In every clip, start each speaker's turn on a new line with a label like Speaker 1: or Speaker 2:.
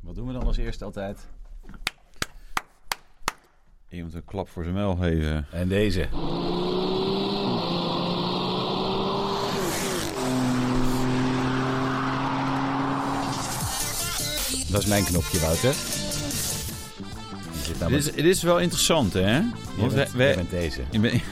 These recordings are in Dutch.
Speaker 1: Wat doen we dan als eerste altijd?
Speaker 2: Iemand een klap voor zijn mel geven.
Speaker 1: En deze. Dat is mijn knopje, Wouter. Je zit nou
Speaker 2: Dit is, dit is wel interessant, hè? Want we,
Speaker 1: we,
Speaker 2: we,
Speaker 1: deze.
Speaker 2: je bent-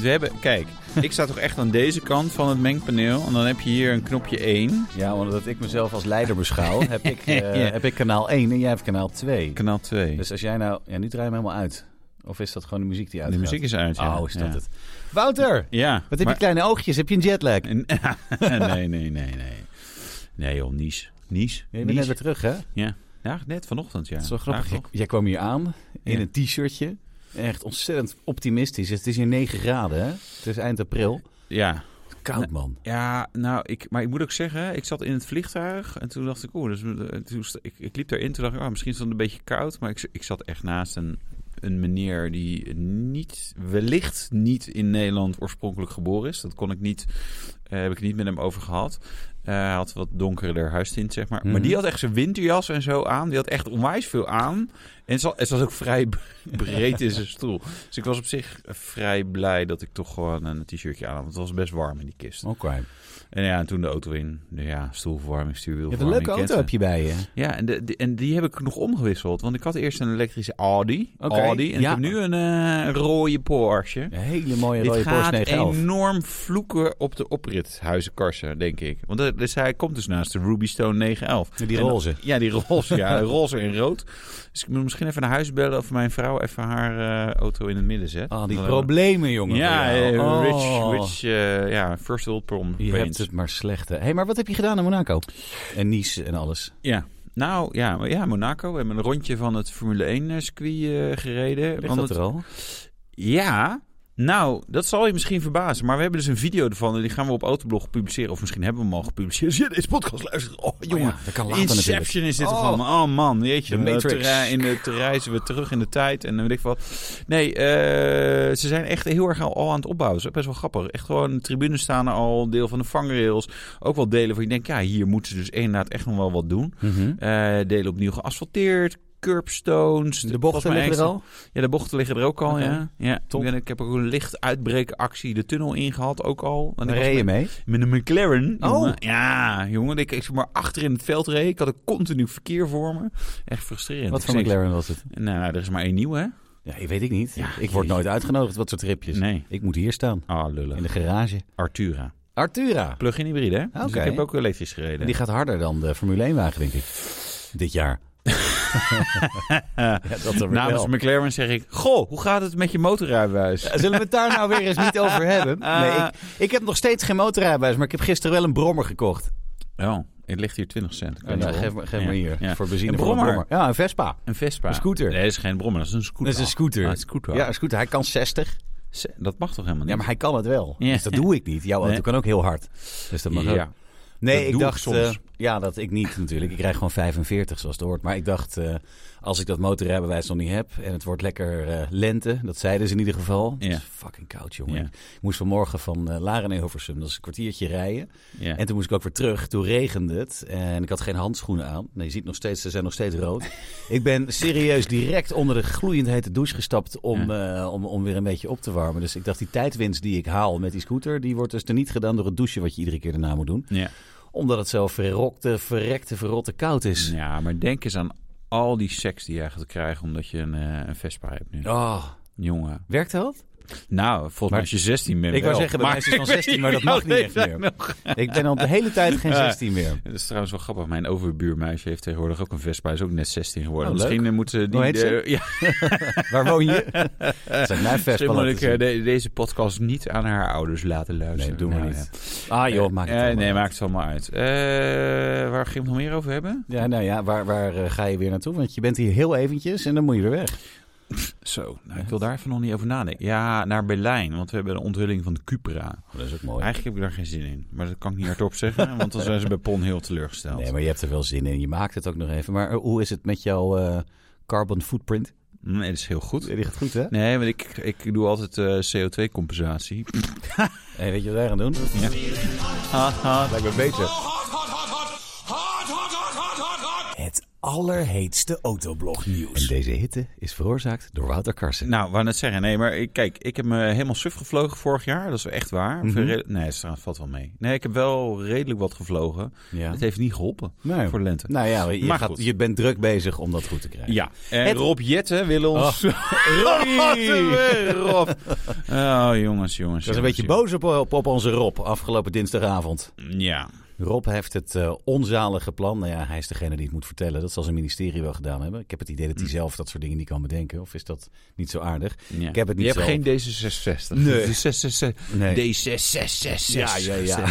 Speaker 2: we hebben... Kijk, ik sta toch echt aan deze kant van het mengpaneel. En dan heb je hier een knopje 1.
Speaker 1: Ja, omdat ik mezelf als leider beschouw, heb ik, eh,
Speaker 2: Ja.
Speaker 1: heb ik kanaal 1 en jij hebt kanaal 2.
Speaker 2: Kanaal 2.
Speaker 1: Dus als jij nou... Ja, nu draai je hem helemaal uit. Of is dat gewoon de muziek die uit
Speaker 2: de muziek is uit, ja.
Speaker 1: Oh, is dat
Speaker 2: Ja.
Speaker 1: het. Wouter!
Speaker 2: Ja.
Speaker 1: Wat heb je
Speaker 2: maar-
Speaker 1: kleine oogjes? Heb je een jetlag?
Speaker 2: En- nee, nee, nee, nee. Nee, joh, Nies. Nies?
Speaker 1: Je bent
Speaker 2: Nies?
Speaker 1: net weer terug, hè?
Speaker 2: Ja. ja, net vanochtend, ja.
Speaker 1: Dat is wel grappig.
Speaker 2: Ja,
Speaker 1: Jij,
Speaker 2: toch?
Speaker 1: jij kwam hier aan in
Speaker 2: Ja.
Speaker 1: een t-shirtje. Echt ontzettend optimistisch. Het is hier 9 graden, hè? Het is eind april.
Speaker 2: Ja.
Speaker 1: Koud, man.
Speaker 2: Ja, nou, ik, maar ik moet ook zeggen, ik zat in het vliegtuig en toen dacht ik, oeh, dus, eh, toen, st- ik, ik liep erin, toen dacht ik, ah, misschien is het een beetje koud, maar ik, z- ik zat echt naast een, een meneer die niet, wellicht niet in Nederland oorspronkelijk geboren is. Dat kon ik niet, eh, heb ik niet met hem over gehad. Eh, hij had wat donkerder huistint, zeg maar. Maar
Speaker 1: Mhm.
Speaker 2: die had echt zijn winterjas en zo aan. Die had echt onwijs veel aan. En ze, ze was ook vrij b- breed in zijn stoel. Dus ik was op zich vrij blij dat ik toch gewoon een t-shirtje aan had. Want het was best warm in die kist.
Speaker 1: Oké.
Speaker 2: En ja, en toen de auto in. De, ja, stoelverwarming,
Speaker 1: Je hebt
Speaker 2: stuurwielverwarming.
Speaker 1: een leuke auto
Speaker 2: ketten.
Speaker 1: heb je bij je.
Speaker 2: Ja, en, de, de- en die heb ik nog omgewisseld. Want ik had eerst een elektrische Audi.
Speaker 1: Oké,
Speaker 2: Audi
Speaker 1: ja.
Speaker 2: en ik heb nu een eh, rode Porsche.
Speaker 1: Een hele mooie
Speaker 2: Dit
Speaker 1: rode Porsche
Speaker 2: gaat
Speaker 1: 911.
Speaker 2: enorm vloeken op de oprit huizenkarsen, denk ik. Want dat, dus hij komt dus naast de Ruby Stone 911.
Speaker 1: Die
Speaker 2: En dan-
Speaker 1: roze.
Speaker 2: ja, die roze. ja, roze en rood. Dus ik moet misschien even naar huis bellen of mijn vrouw even haar eh, auto in het midden zet.
Speaker 1: Ah, die
Speaker 2: Dan-
Speaker 1: problemen, jongen.
Speaker 2: Ja,
Speaker 1: voor jou.
Speaker 2: eh,
Speaker 1: Oh.
Speaker 2: rich, rich, eh, ja, first world prom.
Speaker 1: Je hebt
Speaker 2: pains.
Speaker 1: het maar slecht. Hé, hey, maar wat heb je gedaan in Monaco? En Nice en alles.
Speaker 2: Ja. Nou ja, maar ja, Monaco. We hebben een rondje van het Formule 1 circuit eh, gereden.
Speaker 1: Ligt
Speaker 2: Want
Speaker 1: dat
Speaker 2: het-
Speaker 1: er al?
Speaker 2: Ja. Nou, dat zal je misschien verbazen. Maar we hebben dus een video ervan. En die gaan we op Autoblog publiceren. Of misschien hebben we hem al gepubliceerd. Als je deze podcast luistert. Oh, jongen.
Speaker 1: Ja, dat kan later natuurlijk.
Speaker 2: Inception is dit
Speaker 1: Oh.
Speaker 2: gewoon. Oh man, jeetje.
Speaker 1: De
Speaker 2: we
Speaker 1: Matrix.
Speaker 2: terra- in de, te reizen we terug in de tijd en dan weet ik wat. Nee, eh, ze zijn echt heel erg al, al aan het opbouwen. Dat is best wel grappig. Echt gewoon, de tribunes staan er al, deel van de vangrails. Ook wel delen waar je denkt, ja, hier moeten ze dus inderdaad echt nog wel wat doen.
Speaker 1: Mhm.
Speaker 2: Eh, delen opnieuw geasfalteerd. Curbstones.
Speaker 1: De
Speaker 2: Volgens
Speaker 1: bochten
Speaker 2: mij
Speaker 1: liggen er al?
Speaker 2: Ja, de bochten liggen er ook al,
Speaker 1: Oké.
Speaker 2: ja. ja.
Speaker 1: Top.
Speaker 2: Ik, ben- ik heb ook een licht uitbrekenactie de tunnel ingehad, ook al. En ik
Speaker 1: Waar
Speaker 2: was
Speaker 1: reed je mee?
Speaker 2: met een McLaren.
Speaker 1: Oh.
Speaker 2: jongen. Ja, jongen. Ik, ik zeg maar achter in het veld reed. Ik had een continu verkeer voor me. Echt frustrerend.
Speaker 1: Wat
Speaker 2: Ik
Speaker 1: voor
Speaker 2: zeg,
Speaker 1: McLaren was het?
Speaker 2: Nou, nou, er is maar één nieuw, hè?
Speaker 1: Ja, ik weet ik niet.
Speaker 2: Ja,
Speaker 1: ik word nooit uitgenodigd wat soort tripjes.
Speaker 2: Nee.
Speaker 1: Ik moet hier staan.
Speaker 2: Ah, lullen.
Speaker 1: In de garage.
Speaker 2: Artura.
Speaker 1: Artura.
Speaker 2: Plug-in hybride, hè? Dus
Speaker 1: Oké.
Speaker 2: ik heb ook elektrisch gereden.
Speaker 1: En die gaat harder dan de Formule 1 wagen, denk ik. Dit jaar. ja, dat dan weer wel.
Speaker 2: Namens McLaren zeg ik... Goh, hoe gaat het met je motorrijbewijs?
Speaker 1: Ja, Zullen we het daar nou weer eens niet over hebben?
Speaker 2: Ah.
Speaker 1: Nee, ik, ik heb nog steeds geen motorrijbewijs, maar ik heb gisteren wel een brommer gekocht.
Speaker 2: Oh, het ligt hier 20 cent. Ik weet
Speaker 1: Ja,
Speaker 2: niet
Speaker 1: nou,
Speaker 2: waarom.
Speaker 1: geef me, geef
Speaker 2: Ja,
Speaker 1: me hier
Speaker 2: ja.
Speaker 1: voor benzine.
Speaker 2: Een
Speaker 1: voor
Speaker 2: brommer?
Speaker 1: Ja, een Vespa.
Speaker 2: Een Vespa.
Speaker 1: Een scooter.
Speaker 2: Nee, dat is geen brommer. Dat is een
Speaker 1: Dat
Speaker 2: scooter.
Speaker 1: is een scooter.
Speaker 2: Ah, een scooter.
Speaker 1: Ja, een scooter. Hij kan 60.
Speaker 2: Se- Dat mag toch helemaal niet?
Speaker 1: Ja, maar hij kan het wel.
Speaker 2: Ja.
Speaker 1: Dus dat doe ik niet. Jouw auto
Speaker 2: Nee.
Speaker 1: kan ook heel hard. Dus dat mag ook.
Speaker 2: Ja.
Speaker 1: Nee,
Speaker 2: Dat
Speaker 1: ik
Speaker 2: doe ik
Speaker 1: dacht...
Speaker 2: soms.
Speaker 1: eh, ja, dat ik niet natuurlijk. Ik krijg gewoon 45 zoals het hoort. Maar ik dacht, eh, als ik dat motorrijbewijs nog niet heb... en het wordt lekker eh, lente, dat zeiden ze in ieder geval.
Speaker 2: Ja.
Speaker 1: Het is fucking koud, jongen.
Speaker 2: Ja.
Speaker 1: Ik moest vanmorgen van eh, Laren naar Hilversum. Dat is een kwartiertje rijden.
Speaker 2: Ja.
Speaker 1: En toen moest ik ook weer terug. Toen regende het. En ik had geen handschoenen aan. Nee, je ziet nog steeds, ze zijn nog steeds rood. ik ben serieus direct onder de gloeiend hete douche gestapt om, eh, om, om weer een beetje op te warmen. Dus ik dacht, die tijdwinst die ik haal met die scooter, die wordt dus er niet gedaan door het douchen wat je iedere keer daarna moet doen.
Speaker 2: Ja.
Speaker 1: Omdat het zo verrokte, verrekte, verrotte koud is.
Speaker 2: ja, maar denk eens aan al die seks die jij gaat krijgen omdat je een, eh, een Vespa hebt nu.
Speaker 1: Oh,
Speaker 2: Jongen.
Speaker 1: werkt dat?
Speaker 2: Nou, volgens mij als je 16 bent
Speaker 1: Ik wou
Speaker 2: wel.
Speaker 1: zeggen, bij
Speaker 2: Maar-
Speaker 1: meisjes van 16, maar dat mag niet echt meer. Ik ben al de hele tijd geen
Speaker 2: Ja.
Speaker 1: 16 meer.
Speaker 2: Dat is trouwens wel grappig. Mijn overbuurmeisje heeft tegenwoordig ook een Vespa. Is ook net 16 geworden.
Speaker 1: Oh, leuk.
Speaker 2: Misschien eh, moeten die...
Speaker 1: Hoe heet ze?
Speaker 2: eh, ja,
Speaker 1: Waar woon je? Dat zijn mijn
Speaker 2: misschien
Speaker 1: Vespa
Speaker 2: moet
Speaker 1: laten
Speaker 2: ik eh,
Speaker 1: zien.
Speaker 2: de- deze podcast niet aan haar ouders laten luisteren.
Speaker 1: Nee, doen we
Speaker 2: Nou,
Speaker 1: niet.
Speaker 2: ja.
Speaker 1: Ah joh, maak het
Speaker 2: Eh,
Speaker 1: allemaal
Speaker 2: nee,
Speaker 1: uit.
Speaker 2: maakt het allemaal uit. Eh, waar ging we het nog meer over hebben?
Speaker 1: Ja, nou ja, waar, waar eh, ga je weer naartoe? Want je bent hier heel eventjes en dan moet je weer weg.
Speaker 2: Zo, nou, ik wil daar even nog niet over nadenken. Ja, naar Berlijn, want we hebben een onthulling van de Cupra.
Speaker 1: Oh, dat is ook mooi.
Speaker 2: Eigenlijk heb ik daar geen zin in, maar dat kan ik niet hardop zeggen, want dan zijn ze bij Pon heel teleurgesteld.
Speaker 1: Nee, maar je hebt er wel zin in. Je maakt het ook nog even. Maar eh, hoe is het met jouw eh, carbon footprint?
Speaker 2: Mm, Nee, dat is heel goed.
Speaker 1: Die gaat goed, hè?
Speaker 2: Nee, want ik, ik doe altijd eh, CO2-compensatie.
Speaker 1: Hey, weet je wat wij gaan doen?
Speaker 2: Ja.
Speaker 1: Lijkt me beter.
Speaker 3: hot, hot, hot, hot, hot, hot, hot, hot, hot, hot.
Speaker 1: Het allerheetste autoblognieuws. En deze hitte is veroorzaakt door Wouter Karsen.
Speaker 2: Nou, wou net zeggen. Nee, maar ik- kijk, ik heb me helemaal suf gevlogen vorig jaar. Dat is echt waar.
Speaker 1: Mhm.
Speaker 2: Verre- Nee, straat valt wel mee. Nee, ik heb wel redelijk wat gevlogen.
Speaker 1: Ja.
Speaker 2: Het heeft niet geholpen
Speaker 1: Nee.
Speaker 2: voor de lente.
Speaker 1: Nou ja, je,
Speaker 2: Maar
Speaker 1: gaat-
Speaker 2: goed.
Speaker 1: je bent druk bezig om dat goed te krijgen.
Speaker 2: Ja, Oh. en
Speaker 1: Het-
Speaker 2: Rob Jetten wil ons...
Speaker 1: Robbie!
Speaker 2: Rob! Oh, jongens, jongens.
Speaker 1: Ik was een beetje boos op, op, op onze Rob afgelopen dinsdagavond.
Speaker 2: Ja,
Speaker 1: Rob heeft het eh, onzalige plan. Nou ja, hij is degene die het moet vertellen. Dat zal zijn ministerie wel gedaan hebben. Ik heb het idee dat hij zelf dat soort dingen niet kan bedenken. Of is dat niet zo aardig?
Speaker 2: ja.
Speaker 1: Ik heb het niet
Speaker 2: Je hebt
Speaker 1: zo-
Speaker 2: geen D66.
Speaker 1: Nee.
Speaker 2: De 666.
Speaker 1: Nee.
Speaker 2: D666.
Speaker 1: Ja, ja, ja.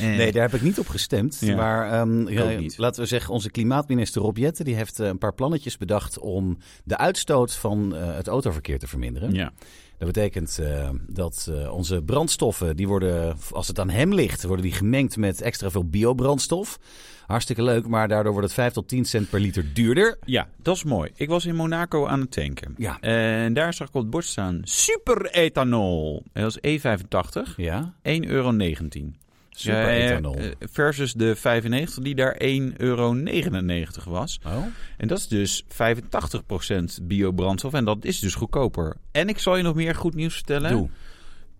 Speaker 1: Nee, daar heb ik niet op gestemd.
Speaker 2: Ja.
Speaker 1: Maar ehm, ja,
Speaker 2: ook niet.
Speaker 1: laten we zeggen, onze klimaatminister Rob Jetten... die heeft eh, een paar plannetjes bedacht om de uitstoot van eh, het autoverkeer te verminderen.
Speaker 2: Ja.
Speaker 1: Dat betekent eh, dat eh, onze brandstoffen, die worden, als het aan hem ligt, worden die gemengd met extra veel biobrandstof. Hartstikke leuk, maar daardoor wordt het 5 tot 10 cent per liter duurder.
Speaker 2: ja, dat is mooi. Ik was in Monaco aan het tanken.
Speaker 1: Ja.
Speaker 2: En daar zag ik op het bord staan super ethanol. Dat is E85, 1,19
Speaker 1: Ja,
Speaker 2: euro.
Speaker 1: super ethanol.
Speaker 2: Eh, Versus de 95 die daar 1,99 euro was.
Speaker 1: oh?
Speaker 2: En dat is dus 85% biobrandstof. En dat is dus goedkoper. En ik zal je nog meer goed nieuws vertellen.
Speaker 1: Doe.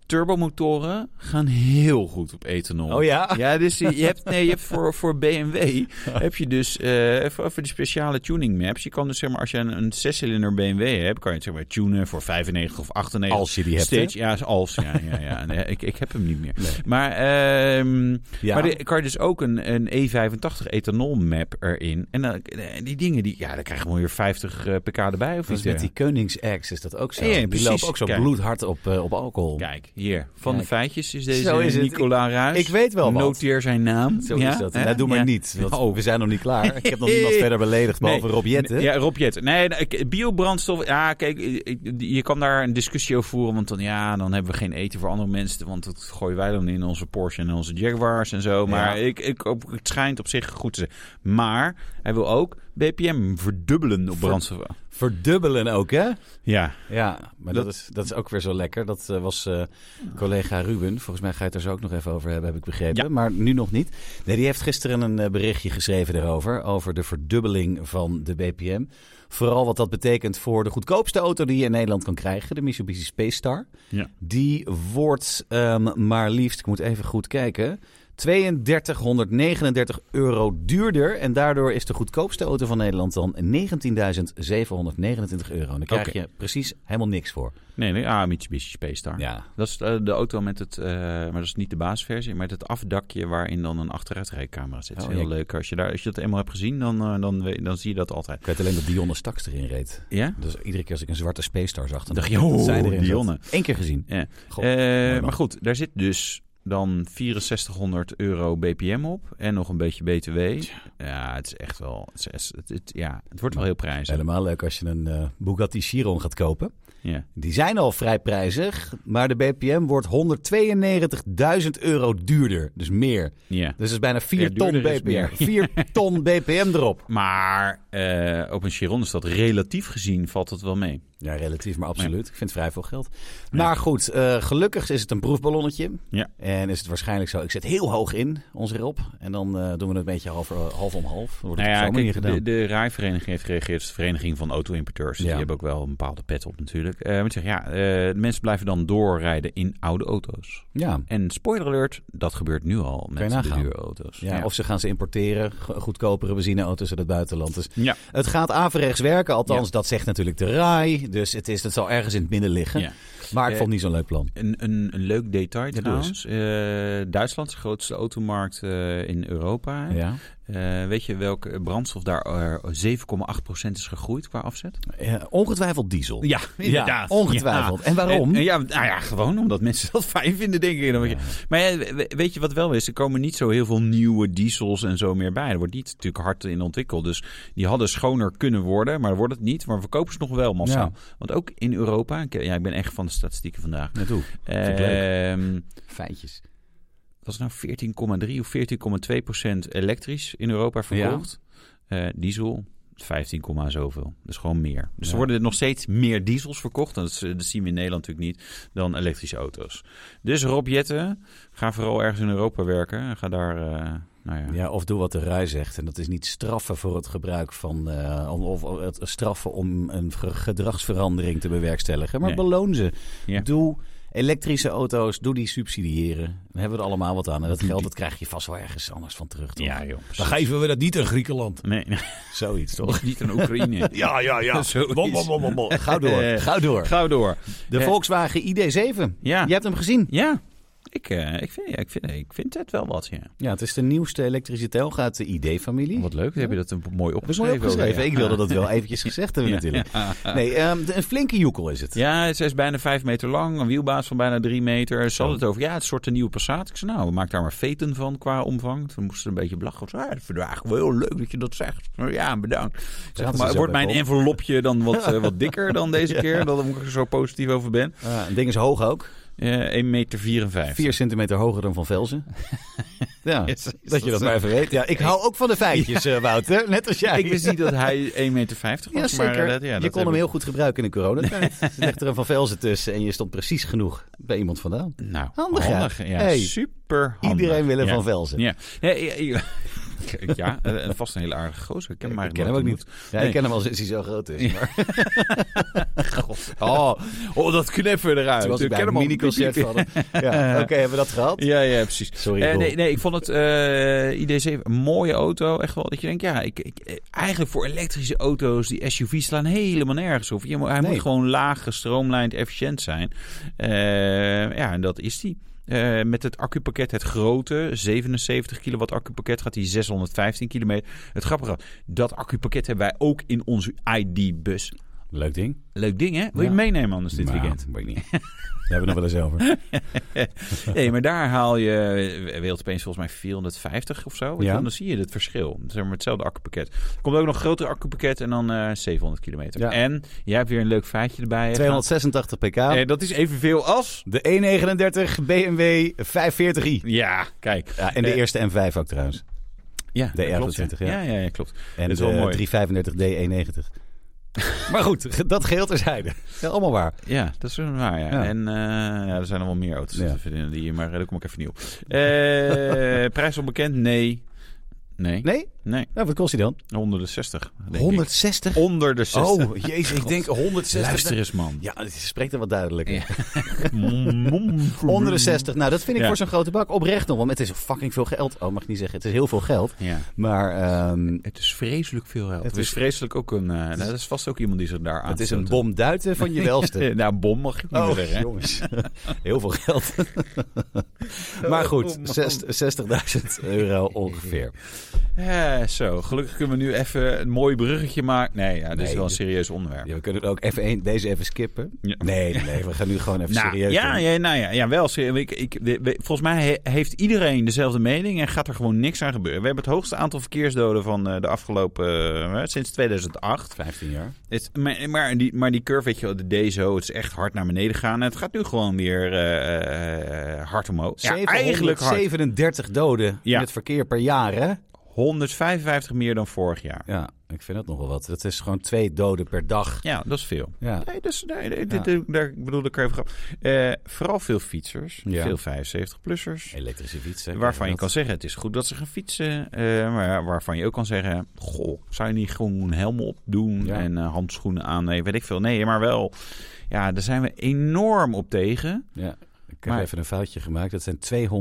Speaker 2: Turbomotoren gaan heel goed op ethanol.
Speaker 1: Oh ja?
Speaker 2: Ja, dus je hebt, nee, je hebt voor, voor BMW heb je dus eh, voor, voor die speciale tuning maps. Je kan dus zeg maar, als je een, een zescilinder BMW hebt, kan je het zeg maar tunen voor 95 of 98.
Speaker 1: Als je die hebt,
Speaker 2: Stage, ja, is als. Ja, ja, ja. Nee, ik, ik heb hem niet meer.
Speaker 1: Nee.
Speaker 2: Maar, ehm,
Speaker 1: Ja.
Speaker 2: maar de- kan je dus ook een, een E85 ethanol map erin. En dan- eh, die dingen, die, ja, dan krijg je gewoon weer 50 eh, pk erbij of
Speaker 1: Dat
Speaker 2: iets.
Speaker 1: is met die
Speaker 2: dergelijks.
Speaker 1: Koningsex is dat ook zo.
Speaker 2: Ja, ja,
Speaker 1: die
Speaker 2: precies.
Speaker 1: lopen ook zo
Speaker 2: Kijk.
Speaker 1: bloedhard op, eh, op alcohol.
Speaker 2: Kijk, hier. Van
Speaker 1: Kijk.
Speaker 2: de feitjes is
Speaker 1: Zo
Speaker 2: deze
Speaker 1: is het.
Speaker 2: Nicola Ruijs.
Speaker 1: Ik weet wel wat.
Speaker 2: Noteer zijn naam.
Speaker 1: Zo
Speaker 2: Ja?
Speaker 1: is dat.
Speaker 2: Hè?
Speaker 1: Nou, doe maar
Speaker 2: Ja.
Speaker 1: niet, want
Speaker 2: Oh.
Speaker 1: we zijn nog niet klaar. Ik heb nog niemand verder beledigd, behalve
Speaker 2: Nee.
Speaker 1: Rob Jetten.
Speaker 2: Ja, Rob Jetten. Nee, nou, ik- biobrandstof. Ja, kijk, ik- ik- je kan daar een discussie over voeren. Want dan, ja, dan hebben we geen eten voor andere mensen. Want dat gooien wij dan in onze Porsche en onze Jaguars en zo. Maar
Speaker 1: Ja.
Speaker 2: ik, ik, op- het schijnt op zich goed te zijn. Maar hij wil ook BPM verdubbelen op
Speaker 1: Ver-
Speaker 2: brandstof.
Speaker 1: Verdubbelen ook, hè?
Speaker 2: Ja,
Speaker 1: Ja, maar dat, is, dat is ook weer zo lekker. Dat eh, was eh, collega Ruben. Volgens mij ga je het er zo ook nog even over hebben, heb ik begrepen.
Speaker 2: Ja.
Speaker 1: Maar nu nog niet. Nee, die heeft gisteren een eh, berichtje geschreven daarover. Over de verdubbeling van de BPM. Vooral wat dat betekent voor de goedkoopste auto die je in Nederland kan krijgen. De Mitsubishi Space Star.
Speaker 2: Ja.
Speaker 1: Die wordt ehm, maar liefst, ik moet even goed kijken... 3239 euro duurder. En daardoor is de goedkoopste auto van Nederland dan 19.729 euro. En dan krijg
Speaker 2: Oké.
Speaker 1: je precies helemaal niks voor.
Speaker 2: nee, nee. Ah, Mitsubishi Space Star.
Speaker 1: Ja.
Speaker 2: Dat is eh, de auto met het, eh, maar dat is niet de basisversie, maar het afdakje waarin dan een achteruitrijcamera zit.
Speaker 1: Oh,
Speaker 2: Heel
Speaker 1: ja.
Speaker 2: leuk. Als je, daar, als je dat eenmaal hebt gezien, dan, eh, dan, we- dan zie je dat altijd.
Speaker 1: Ik weet alleen dat Dionne Staks erin reed.
Speaker 2: Ja?
Speaker 1: Dus iedere keer als ik een zwarte Space Star zag, dan
Speaker 2: Dacht je, oh,
Speaker 1: zij erin zat.
Speaker 2: Dionne.
Speaker 1: Eén keer gezien.
Speaker 2: Ja.
Speaker 1: God,
Speaker 2: Eh,
Speaker 1: mooi man.
Speaker 2: maar goed, daar zit dus dan 6400 euro BPM op en nog een beetje BTW. Ja, het is echt wel. Het, is- het, het- ja, het wordt wel heel prijzig.
Speaker 1: Helemaal leuk als je een eh, Bugatti Chiron gaat kopen.
Speaker 2: Ja.
Speaker 1: Die zijn al vrij prijzig, maar de BPM wordt 192.000 euro duurder. Dus meer.
Speaker 2: ja.
Speaker 1: Dus dat is bijna 4
Speaker 2: Ja,
Speaker 1: ton
Speaker 2: duurder is
Speaker 1: BPM.
Speaker 2: meer.
Speaker 1: 4 ton BPM erop.
Speaker 2: Maar eh, op een Chiron is dat relatief gezien valt het wel mee.
Speaker 1: Ja, relatief, maar absoluut. Ik vind het vrij veel geld. Maar goed, eh, gelukkig is het een proefballonnetje.
Speaker 2: Ja.
Speaker 1: En is het waarschijnlijk zo, ik zet heel hoog in, onze Rob. En dan eh, doen we het een beetje half, half om half. Dan wordt het
Speaker 2: Nou
Speaker 1: op
Speaker 2: ja,
Speaker 1: zo'n manier
Speaker 2: kijk,
Speaker 1: gedaan.
Speaker 2: de, de rijvereniging heeft gereageerd. Het is de vereniging van auto-importeurs.
Speaker 1: Ja.
Speaker 2: Die hebben ook wel een bepaalde pet op natuurlijk. Eh maar ik zeg, ja, eh, de mensen blijven dan doorrijden in oude auto's.
Speaker 1: Ja.
Speaker 2: En spoiler alert, dat gebeurt nu al
Speaker 1: je
Speaker 2: met de
Speaker 1: nagaan.
Speaker 2: dure auto's.
Speaker 1: Ja, Of ze gaan ze importeren, go- goedkopere benzineauto's uit het buitenland. Dus
Speaker 2: ja.
Speaker 1: het gaat averechts werken, althans dat zegt natuurlijk de RAI. Dus het, is, het zal ergens in het midden liggen.
Speaker 2: ja.
Speaker 1: Maar ik
Speaker 2: Eh,
Speaker 1: vond het niet zo'n leuk plan.
Speaker 2: Een, een, een leuk detail
Speaker 1: Ja, doe eens.
Speaker 2: trouwens. Eh, Duitsland is de grootste automarkt eh, in Europa.
Speaker 1: Ja.
Speaker 2: Eh, weet je welke brandstof daar eh, 7,8% is gegroeid qua afzet?
Speaker 1: Eh, ongetwijfeld diesel.
Speaker 2: Ja,
Speaker 1: Ja, ongetwijfeld. En waarom?
Speaker 2: En- en ja, nou ja, gewoon omdat mensen dat fijn vinden, denk ik. Dan weet je- Maar ja, we- weet je wat wel is? Er komen niet zo heel veel nieuwe diesels en zo meer bij. Er wordt niet natuurlijk hard in ontwikkeld. Dus die hadden schoner kunnen worden, maar wordt het niet. Maar we verkopen ze nog wel massaal. Want ook in Europa, ik, ja, ik ben echt van de statistieken vandaag.
Speaker 1: Naartoe. ik leuk.
Speaker 2: Ehm
Speaker 1: Feitjes.
Speaker 2: was het nou 14,3 of 14,2 procent elektrisch in Europa verkocht. Eh, diesel 15, komma zoveel. Dus gewoon meer. Dus
Speaker 1: Ja.
Speaker 2: er worden nog steeds meer diesels verkocht. Dat, is- eh, dat zien we in Nederland natuurlijk niet. Dan elektrische auto's. Dus Rob Jetten, ga vooral ergens in Europa werken. Ga daar eh, Nou ja.
Speaker 1: Ja, of doe wat de rij zegt. En dat is niet straffen voor het gebruik van. eh, om- of het straffen om een ge- gedragsverandering te bewerkstelligen. Maar
Speaker 2: Nee.
Speaker 1: beloon ze.
Speaker 2: Ja.
Speaker 1: Doe elektrische auto's, doe die subsidiëren. Dan hebben we er allemaal wat aan. En dat geld, dat krijg je vast wel ergens anders van terug. Toch?
Speaker 2: Ja, joh.
Speaker 1: Dan geven we dat niet aan Griekenland.
Speaker 2: Nee, nee,
Speaker 1: Zoiets toch?
Speaker 2: niet aan Oekraïne.
Speaker 1: Ja, ja, ja.
Speaker 2: Zoiets.
Speaker 1: Bom, bom, bom, bom, bom. Gauw door. Gauw door.
Speaker 2: Gauw door.
Speaker 1: De
Speaker 2: Eh.
Speaker 1: Volkswagen ID7.
Speaker 2: Ja,
Speaker 1: Je hebt hem gezien.
Speaker 2: ja. Ik, eh, ik, vind, ja, ik, vind, ik vind het wel wat, ja.
Speaker 1: Ja, het is de nieuwste elektrische telg uit de ID-familie.
Speaker 2: Wat leuk, heb je dat een mooi
Speaker 1: Dat is mooi
Speaker 2: opgeschreven.
Speaker 1: opgeschreven.
Speaker 2: ja.
Speaker 1: Ik wilde dat wel eventjes gezegd hebben natuurlijk. Nee, ehm, de- een flinke joekel is het.
Speaker 2: Ah. Ja, ze is bijna vijf meter lang, een wielbaas van bijna drie meter. Ze hadden het over, ja, het soort een nieuwe Passat. Ik zei, nou, maak daar maar veten van qua omvang. Toen moesten ze een beetje blachen. Ik zei, ja, dat vind ik eigenlijk wel heel leuk dat je dat zegt. Ik zei, Ja, bedankt. Ik zeg,
Speaker 1: Zaten ze
Speaker 2: maar
Speaker 1: zo
Speaker 2: wordt
Speaker 1: bij
Speaker 2: mijn
Speaker 1: Paul?
Speaker 2: envelopje dan wat, eh, wat dikker dan deze keer? Dat ik er zo positief over ben.
Speaker 1: Ah, het ding is hoog ook.
Speaker 2: Eh 1,54 meter.
Speaker 1: 4 centimeter hoger dan Van Velzen. ja,
Speaker 2: Is- is
Speaker 1: dat je dat
Speaker 2: zo?
Speaker 1: maar even weet. Ja, ik hou ook van de feitjes, eh, Wouter. Net als jij.
Speaker 2: Ik wist niet dat hij 1,50 meter was.
Speaker 1: ja,
Speaker 2: Maar,
Speaker 1: zeker.
Speaker 2: eh, dat, ja,
Speaker 1: je
Speaker 2: dat
Speaker 1: kon
Speaker 2: heb
Speaker 1: hem
Speaker 2: ik-
Speaker 1: heel goed gebruiken in de coronatijd. Er ligt er een Van Velzen tussen en je stond precies genoeg bij iemand vandaan.
Speaker 2: Nou,
Speaker 1: Handig,
Speaker 2: handig.
Speaker 1: hè?
Speaker 2: Ja,
Speaker 1: Hey,
Speaker 2: super
Speaker 1: Iedereen wil een
Speaker 2: ja.
Speaker 1: Van Velzen.
Speaker 2: Ja, ja, ja, ja. Kijk, ja, eh, vast een hele aardige gozer. Ik ken
Speaker 1: Ik
Speaker 2: hem maar
Speaker 1: ken hem ook niet. Ja,
Speaker 2: Nee.
Speaker 1: Ik ken hem al sinds hij zo groot is. Maar
Speaker 2: Oh, oh, dat kneffen eruit.
Speaker 1: toen was ik
Speaker 2: Ik
Speaker 1: bij
Speaker 2: ken
Speaker 1: een
Speaker 2: hem al.
Speaker 1: mini-concert van hem. Ja, Oké, hebben we dat gehad?
Speaker 2: Ja, ja, precies.
Speaker 1: Sorry,
Speaker 2: Eh,
Speaker 1: Roel.
Speaker 2: nee, nee, ik vond het eh ID7 een mooie auto. Echt wel dat je denkt, ja, ik, ik, eh, eigenlijk voor elektrische auto's, die SUV's slaan helemaal nergens op. Je moet, hij
Speaker 1: Nee.
Speaker 2: moet gewoon laag, gestroomlijnd, efficiënt zijn. Eh, ja, en dat is die. Eh, met het accupakket, het grote 77 kilowatt accupakket, gaat die 615 kilometer. Het grappige, dat accupakket hebben wij ook in onze ID-bus.
Speaker 1: Leuk ding.
Speaker 2: Leuk ding, hè? Wil je
Speaker 1: Ja.
Speaker 2: het meenemen anders dit
Speaker 1: Nou,
Speaker 2: weekend?
Speaker 1: Weet ik niet. Daar hebben we nog wel eens over.
Speaker 2: Nee, maar daar haal je eh, wilt opeens volgens mij 450 of zo. weet je
Speaker 1: Ja.
Speaker 2: wel. Dan zie je het verschil. Zeg maar hetzelfde accupakket. Er komt ook nog een groter accupakket en dan eh, 700 kilometer.
Speaker 1: Ja.
Speaker 2: En jij hebt weer een leuk feitje erbij. hè,
Speaker 1: 286 pk.
Speaker 2: Gaan. Eh, dat is evenveel als...
Speaker 1: De 139 BMW 540i.
Speaker 2: Ja, kijk.
Speaker 1: Ja, en de
Speaker 2: Eh,
Speaker 1: eerste M5 ook trouwens.
Speaker 2: Ja,
Speaker 1: De
Speaker 2: dat klopt,
Speaker 1: R28, ja.
Speaker 2: Ja, ja, ja, klopt.
Speaker 1: En
Speaker 2: Dat is
Speaker 1: de
Speaker 2: wel mooi.
Speaker 1: 335 D190. maar goed, dat geheel terzijde. Ja, allemaal waar.
Speaker 2: Ja, dat is wel waar, ja.
Speaker 1: Ja.
Speaker 2: En eh, ja, er zijn nog wel meer auto's
Speaker 1: Ja.
Speaker 2: te vinden die hier, maar eh, daar kom ik even niet op. Eh, prijs onbekend? Nee. Nee.
Speaker 1: Nee?
Speaker 2: Nee.
Speaker 1: Nou, wat kost hij dan?
Speaker 2: Onder de 60, denk ik.
Speaker 1: 160?
Speaker 2: Onder de 60.
Speaker 1: Oh, jezus, ik denk 160.
Speaker 2: Luister eens, man.
Speaker 1: Ja, het spreekt er wat duidelijker.
Speaker 2: Ja. Mm.
Speaker 1: Onder de 60. Nou, dat vind ik
Speaker 2: Ja.
Speaker 1: voor zo'n grote bak oprecht nog. Want het is fucking veel geld. Oh, mag ik niet zeggen. Het is heel veel geld.
Speaker 2: Ja.
Speaker 1: Maar ehm,
Speaker 2: Het is vreselijk veel geld.
Speaker 1: Het
Speaker 2: Het
Speaker 1: is-
Speaker 2: is vreselijk ook een... eh nou, dat is vast ook iemand die zich daar aan
Speaker 1: Dus- het is een bom duiten van je welste.
Speaker 2: Eh, nou, bom mag je ook niet meer
Speaker 1: Oh,
Speaker 2: zeggen. hè?
Speaker 1: jongens. Heel veel geld. maar goed,
Speaker 2: Oh, man.
Speaker 1: zes- 60.000 euro ongeveer.
Speaker 2: Eh, zo, gelukkig kunnen we nu even een mooi bruggetje maken. Nee, ja, dit is
Speaker 1: Nee,
Speaker 2: wel een
Speaker 1: dit-
Speaker 2: serieus onderwerp.
Speaker 1: Ja, we kunnen ook even één- deze even skippen.
Speaker 2: Ja.
Speaker 1: Nee, nee, nee, we gaan nu gewoon even
Speaker 2: Nou,
Speaker 1: serieus
Speaker 2: ja,
Speaker 1: doen.
Speaker 2: ja, nou ja, ja, wel. serieus. Ik, ik, we- we- volgens mij he- heeft iedereen dezelfde mening en gaat er gewoon niks aan gebeuren. We hebben het hoogste aantal verkeersdoden van eh, de afgelopen... eh, sinds 2008.
Speaker 1: 15 jaar.
Speaker 2: Het, maar, maar, die, maar die curve, weet je wel, de D zo, het is echt hard naar beneden gegaan. En het gaat nu gewoon weer eh, eh, hard omhoog. Ja, eigenlijk hard.
Speaker 1: 37 doden
Speaker 2: Ja.
Speaker 1: in het verkeer per jaar, hè?
Speaker 2: 155 meer dan vorig jaar.
Speaker 1: Ja, ik vind dat nogal wat. Dat is gewoon twee doden per dag.
Speaker 2: Ja, dat is veel.
Speaker 1: Ja.
Speaker 2: Nee, dus nee, nee,
Speaker 1: Ja.
Speaker 2: dit, dit- daar ik bedoel ik even grap. Eh, vooral veel fietsers,
Speaker 1: Ja.
Speaker 2: veel 75-plussers.
Speaker 1: Elektrische fietsen.
Speaker 2: Waarvan je
Speaker 1: dat-
Speaker 2: kan zeggen, het is goed dat ze gaan fietsen. eh, maar waarvan je ook kan zeggen, goh, zou je niet gewoon een helm opdoen
Speaker 1: Ja.
Speaker 2: en eh, handschoenen aan? Nee, weet ik veel. Nee, maar wel. Ja, daar zijn we enorm op tegen.
Speaker 1: Ja. Ik heb
Speaker 2: Maar-
Speaker 1: even een foutje gemaakt. Dat zijn